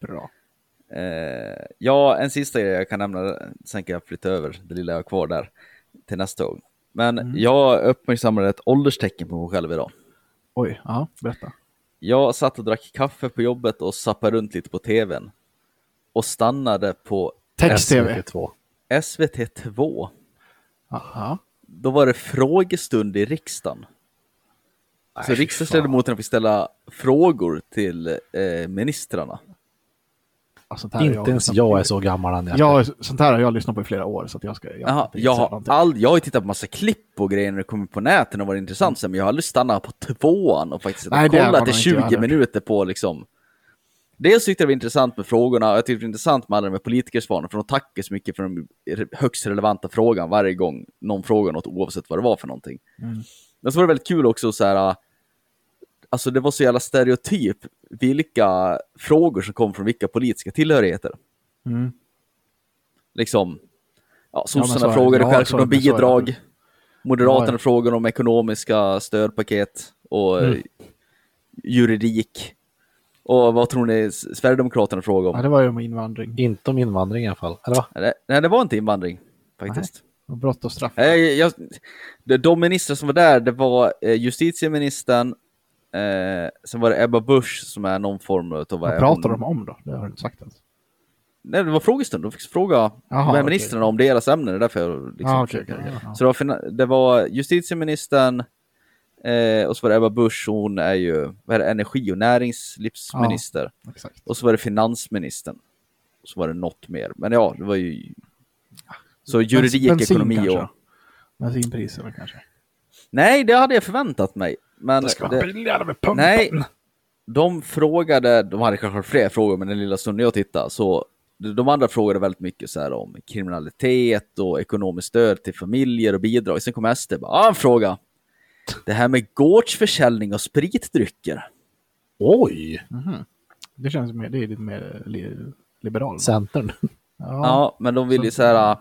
S2: bra.
S4: Eh, ja, en sista grej jag kan nämna, sen kan jag flytta över det lilla jag har kvar där till nästa gång. Men
S2: Mm.
S4: jag uppmärksammade ett ålderstecken på mig själv idag.
S2: Oj, ja, berätta.
S4: Jag satt och drack kaffe på jobbet och zappade runt lite på tvn och stannade på
S2: Text-tv.
S3: SVT2.
S4: SVT2.
S2: Aha.
S4: Då var det frågestund i riksdagen. så riksdagsledamoterna fick ställa frågor till eh, ministrarna.
S2: Alltså, sånt här har
S3: Inte ens
S2: lyssnat på-
S3: jag är så gammal än. Jesper.
S2: Ja, sånt här har jag lyssnat på i flera år så att jag ska... Jag,
S4: Jaha, jag, har all, jag har ju tittat på massa klipp och grejer när det kommer på nätet och varit intressant, sen, men jag har aldrig stannat på tvåan och faktiskt
S2: Mm. Nej, det har
S4: kollat
S2: nog
S4: i
S2: inte
S4: 20
S2: jag heller.
S4: minuter på liksom. Dels tyckte jag det var intressant med frågorna, och jag tyckte det var intressant med alla de här politikersvaren, för de tackar så mycket för den högst relevanta frågan varje gång någon frågar något, oavsett vad det var för någonting.
S2: Mm.
S4: Men så var det väldigt kul också så här, alltså det var så jävla stereotyp vilka frågor som kom från vilka politiska tillhörigheter.
S2: Mm.
S4: Liksom, ja,
S2: men så är
S4: sossarna
S2: det.
S4: frågade
S2: Ja, så-
S4: självklart om
S2: men så är det.
S4: bidrag,
S2: Ja,
S4: moderaterna
S2: ja.
S4: frågade om ekonomiska stödpaket och
S2: Mm.
S4: eh, juridik. Och vad tror ni S- Sverigedemokraterna frågade om?
S2: Ja, det var ju om invandring.
S3: Inte om invandring i alla fall. Eller va?
S4: Nej, Nej, det var inte invandring faktiskt.
S2: Och brott och straff.
S4: Nej, Eh, jag, de- de ministrar som var där, det var eh, justitieministern, eh, sen var det Ebba Busch som är någon form av...
S2: Vad pratar de om då? Det har du inte sagt ens.
S4: Nej, det var frågestund. De fick fråga de här
S2: okej.
S4: ministrarna om deras ämnen. Det är därför jag liksom
S2: Ja, Ah, okej,
S4: försöker-
S2: okej, okej.
S4: Så det var, fina- det var justitieministern eh, och så var det Ebba Busch, hon är ju vad är det, energi och näringslivsminister.
S2: Exakt.
S4: Och så var det finansministern. Och så var det något mer. Men ja, det var ju... Så juridik,
S2: Bensin
S4: ekonomi
S2: kanske.
S4: och...
S2: Bensinpriserna kanske.
S4: Nej, det hade jag förväntat mig. Men det-
S2: billigare med
S4: Nej, de frågade, de hade kanske fler frågor, men den lilla stunden jag tittade, så de andra frågade väldigt mycket så här om kriminalitet och ekonomiskt stöd till familjer och bidrag. Sen kom SD och bara, ah, en fråga. Det här med gårdsförsäljning av spritdrycker.
S3: Oj!
S2: Det känns mer, det är lite mer li, liberal.
S3: Centern.
S4: Ja, men de vill ju så här äh,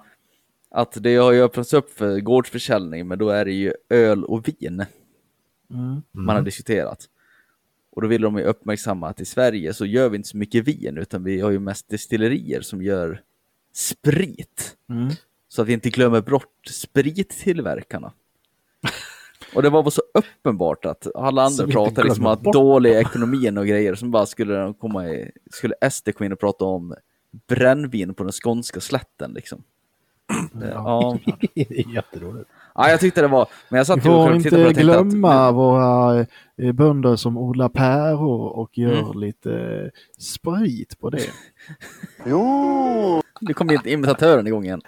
S4: att det har ju öppnats upp för gårdsförsäljning, men då är det ju öl och vin man har diskuterat. Och då vill de ju uppmärksamma att i Sverige så gör vi inte så mycket vin, utan vi har ju mest destillerier som gör sprit.
S2: Mm.
S4: Så att vi inte glömmer bort sprittillverkarna. Och det var väl så uppenbart att alla
S3: Så
S4: andra
S3: vi inte
S4: pratade liksom
S3: glömmer
S4: att
S3: bort.
S4: dålig ekonomin och grejer som bara skulle de komma i, skulle SD komma in och prata om brännvin på den skånska slätten liksom. Det- Ja.
S3: Det är Jätteroligt.
S4: ja, jag tyckte det var, men
S2: Vi
S4: jag satt ju
S2: får
S4: och tittade på det
S2: inte
S4: och tänkte
S2: glömma
S4: att
S2: våra eh, bönder som odlar päror och gör
S4: Mm.
S2: lite eh, sprit på det.
S4: nu, nu kom in- imitatören igång igen.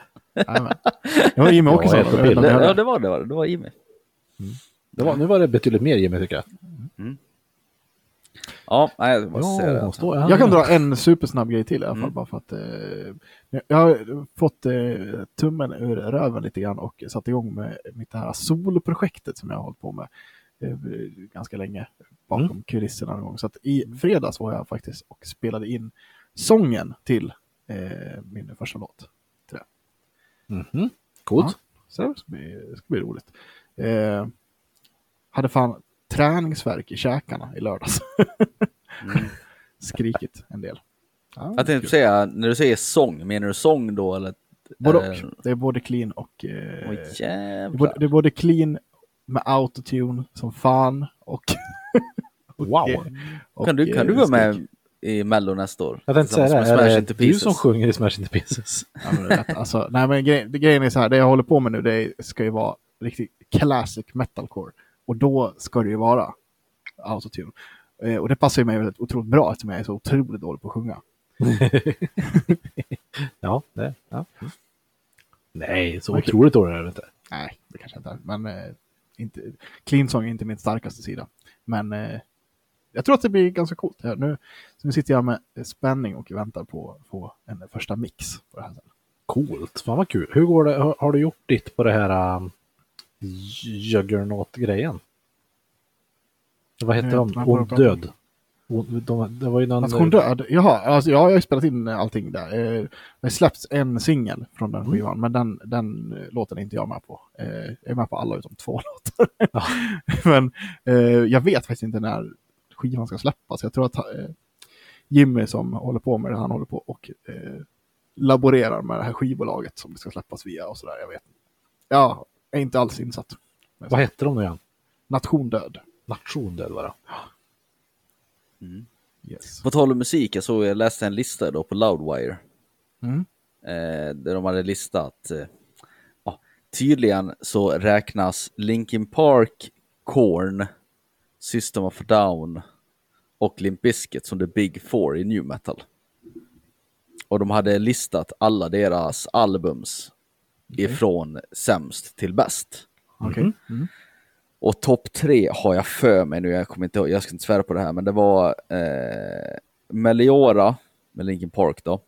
S2: Jajamän. det var Jimmie Åkesson.
S3: jag får
S2: jag vet inte om
S4: Det,
S2: jag hörde.
S4: ja, det var det, var, det Det var Jimmy.
S3: Det var, nu var det betydligt mer Jimmy tycker jag.
S4: Ja, nej, jag måste säga
S3: Ja,
S4: det.
S3: står jag.
S2: Jag kan dra en supersnabb grej till i alla fall. Bara för att, eh, jag har fått eh, tummen ur röven lite grann och satt igång med mitt här solprojektet som jag har hållit på med eh, ganska länge bakom kulisserna någon gång. Så att i fredags var jag faktiskt och spelade in sången till eh, min första låt.
S3: Mhm. Coolt.
S2: Så det ska bli, det ska bli roligt. Eh, hade fan träningsvärk i käkarna i lördags. Skrikit en del. Ja,
S4: Jag tänkte säga, när du säger sång, menar du sång då eller?
S2: Både
S4: Eh,
S2: och. Det är både clean och... Eh,
S4: Åh
S2: det, är
S4: jävlar.
S2: både, det är både clean med autotune som fan och...
S3: Wow.
S2: och
S4: kan, du, kan du
S2: eh,
S4: vara med
S2: skrik.
S4: i Mello nästa år?
S3: Jag tänkte säga det.
S4: Tillsammans med Smash
S3: Är det
S4: Into
S3: du
S4: Pieces.
S3: som sjunger i Smash Into Pieces?
S2: Ja, men det är lätt. alltså, nej, men grejen, det- grejen är så här, det jag håller på med nu det är- ska ju vara riktigt classic metalcore. Och då ska det ju vara autotune. Eh, och det passar ju mig väldigt otroligt bra eftersom jag är så otroligt dålig på att sjunga.
S3: Ja, det.
S4: Mm.
S3: Ja. Nej, så otroligt dålig är det inte.
S2: Nej, det kanske jag inte är. Men eh, Inte, clean song är inte min starkaste sida. Men eh, jag tror att det blir ganska coolt det här. Nu, så nu sitter jag med spänning och väntar på att få en första mix. På det här. sen.
S3: Coolt, fan vad kul. Hur går det, har, har du gjort ditt på det här um, Juggernaut-grejen? Vad hette
S2: Jag
S3: de?
S2: vet inte vad jag
S3: Ond
S2: pratar om.
S3: död. Ond- De, det var ju någon...
S2: Nation Död? Jaha, alltså, ja, jag har ju spelat in allting där. Eh, Det har släppts en singel från den skivan, men den, den eh, låten är inte jag med på. Eh, Jag är med på alla utom två låtar.
S3: Ja.
S2: men eh, jag vet faktiskt inte när skivan ska släppas. Jag tror att eh, Jimmy som håller på med det, han håller på och eh, laborerar med det här skivbolaget som det ska släppas via och sådär. Jag vet inte. Jag är inte alls insatt.
S3: Vad hette de nu igen?
S2: Nation Död.
S3: Nation död var det.
S2: Yes.
S4: På tal om musik, jag, såg, jag läste en lista då på Loudwire.
S2: Mm.
S4: Eh, där de hade listat. Eh, ja, tydligen så räknas Linkin Park, Korn, System of a Down och Limp Bizkit som the big four i new metal. Och de hade listat alla deras albums ifrån sämst till bäst.
S2: Mm. Okej. Mm.
S4: Och topp tre har jag för mig nu, jag kommer inte ihåg, jag ska inte svära på det här, men det var eh, Meliora med Linkin Park då.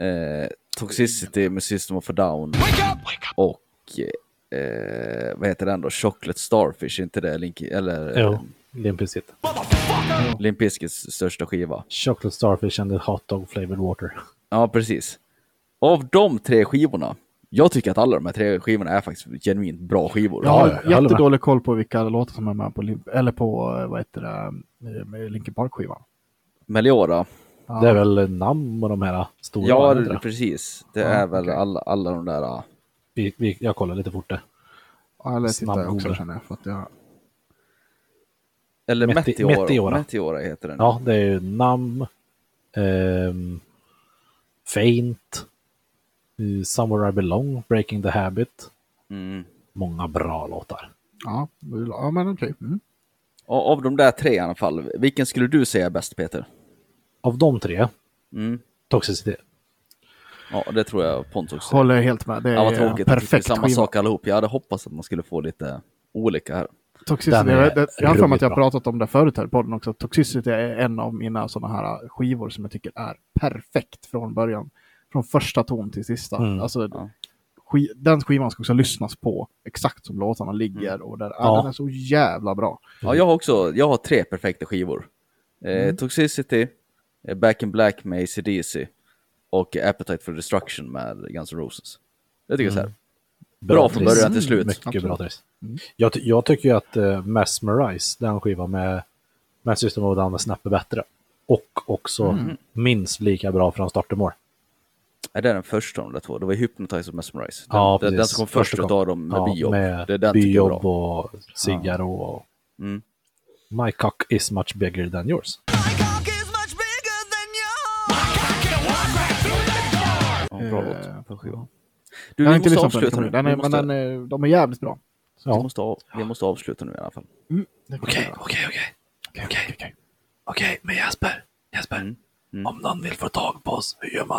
S4: Eh, Toxicity med System of a Down. Och eh, vad heter den då? Chocolate Starfish, är inte det Linkin, eller
S3: Jo,
S4: eh,
S3: Limp Bizkit.
S4: Limp Bizkits största skiva?
S3: Chocolate Starfish and the Hot Dog Flavored Water.
S4: Ja, precis. Av de tre skivorna, jag tycker att alla de här tre skivorna är faktiskt genuint bra skivor.
S2: Jag har
S3: Ja, jag håller
S2: jättedålig koll på vilka låtar som är med på, Lim- eller på eh, vad heter det, eh, med Linkin Park-skivan.
S4: Meliora,
S2: Ja.
S3: Det är väl namn och de här stora?
S4: Ja,
S3: är det inte det?
S4: precis. Det är väl alla, alla de där. ah.
S3: Vi, vi, jag kollar lite fort där.
S2: Ja, eller tittar jag också
S3: Snabb-googlar.
S2: känner jag. För att jag
S4: Eller
S3: Meti-
S4: Meteora. Meteora.
S3: Meteora.
S4: heter den.
S3: Ja, det är ju namn, ehm, Faint, eh, Somewhere I Belong, Breaking the Habit.
S4: Mm.
S3: Många bra låtar.
S2: ja, det är- ja, men okej. Mm.
S4: Och av de där tre i alla fall, vilken skulle du säga är bäst Peter?
S3: Av de tre,
S4: Mm.
S3: Toxicity.
S4: Ja, det tror jag Pontus säger.
S2: Håller helt med. Det
S4: Ja,
S2: är
S4: vad
S2: en
S4: tråkigt att det är
S2: perfekt
S4: samma
S2: skiva.
S4: sak allihop. Jag hade hoppats att man skulle få lite olika här.
S2: Toxicity,
S3: Den är
S2: jag, det, jag har för mig att
S3: ruggigt
S2: jag har
S3: bra.
S2: pratat om det förut här i podden också. Toxicity är en av mina sådana här eh, skivor som jag tycker är perfekt från början. Från första ton till sista.
S3: Mm.
S2: Alltså,
S4: Ja.
S2: ski, den skivan ska också lyssnas på exakt som låtarna ligger. Och där, ja.
S3: Ja.
S2: Den är så jävla bra.
S4: Ja, jag har också, jag har tre perfekta skivor. Eh,
S2: Mm.
S4: Toxicity, eh, Back in Black med ACDC och Appetite for Destruction med Guns N' Roses. Det tycker jag så
S2: Mm.
S4: här. Bra från
S3: triss.
S4: början till slut. Mm.
S3: Mycket bra
S2: Absolut.
S3: triss. Jag, ty- jag tycker ju att uh, Mesmerize, den skivan med, med System of a Down, är snäppet bättre. Och också
S4: Mm.
S3: minst lika bra från start till mål.
S4: Är det den första av de där två? Det var ju Hypnotize och Mesmerize. Den,
S3: Ja,
S4: den, den
S3: precis.
S4: som kom först
S3: Första
S4: av
S3: kom.
S4: dem med Biob.
S3: Med
S4: det är den tycker jag är
S3: Biob
S4: bra.
S3: och Cigarro och...
S4: Mm.
S3: My cock is much bigger than yours.
S4: Ja, bra
S2: Eh,
S4: låt. Bra skiva. Du,
S2: jag har
S4: vi
S2: inte
S4: måste
S2: lyssnat på den.
S4: avsluta
S2: kommer
S4: nu.
S2: jag. Den är,
S4: vi, måste,
S2: men den är, de är jävligt bra.
S4: vi,
S3: Ja.
S4: måste av, vi måste avsluta nu i alla fall.
S2: Okej, okej, okej. Okej,
S3: Mm.
S4: Mm.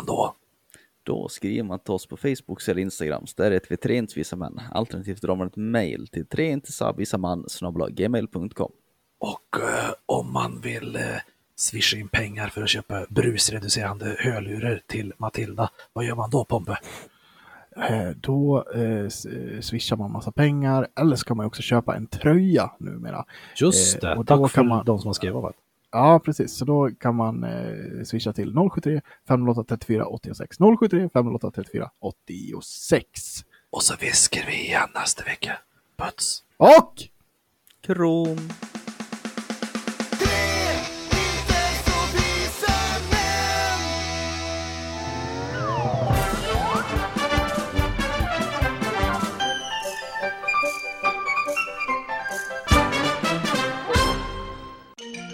S4: Då skriver man till oss på Facebook eller Instagram. Så där heter vi Tre inte visa män. Alternativt drar man ett mejl till treintesavisaman gmail.com.
S9: Och eh, om man vill eh, swisha in pengar för att köpa brusreducerande hörlurar till Matilda, vad gör man då Pompe?
S2: Eh, Då eh, s- eh, swishar man massa pengar eller ska man också köpa en tröja numera.
S3: Just
S2: Eh,
S3: det,
S2: och då kan
S3: tack för
S2: man-
S3: de som har skrivit om det.
S2: Ja, precis. Så då kan man eh, swisha till 073 508 34 86. 073 508 34 86.
S9: Och så viskar vi igen nästa vecka. Puts!
S2: Och
S4: Krom!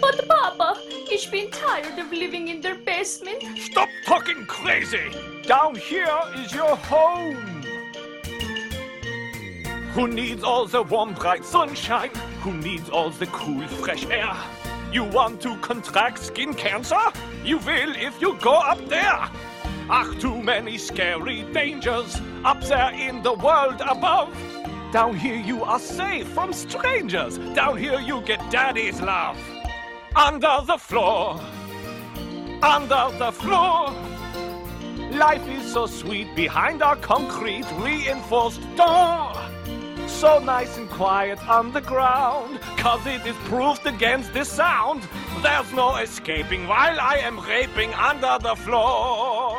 S10: But Papa, he's been tired of living in their basement.
S6: Stop talking crazy! Down here is your home! Who needs all the warm, bright sunshine? Who needs all the cool, fresh air? You want to contract skin cancer? You will if you go up there! Ach, too many scary dangers up there in the world above. Down here you are safe from strangers. Down here you get daddy's love. Under the floor, under the floor. Life is so sweet behind our concrete reinforced door. So nice and quiet on the ground, cause it is proofed against the sound. There's no escaping while I am raping under the floor.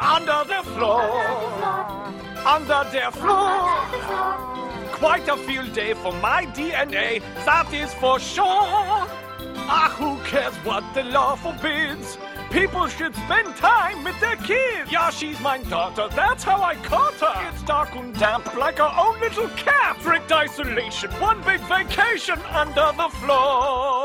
S6: Under the floor, under the floor. Quite a field day for my DNA, that is for sure. Ah, who cares what the law forbids? People should spend time with their kids. Yeah, she's my daughter, that's how I caught her. It's dark and damp like our own little cat. Strict isolation, one big vacation under the floor.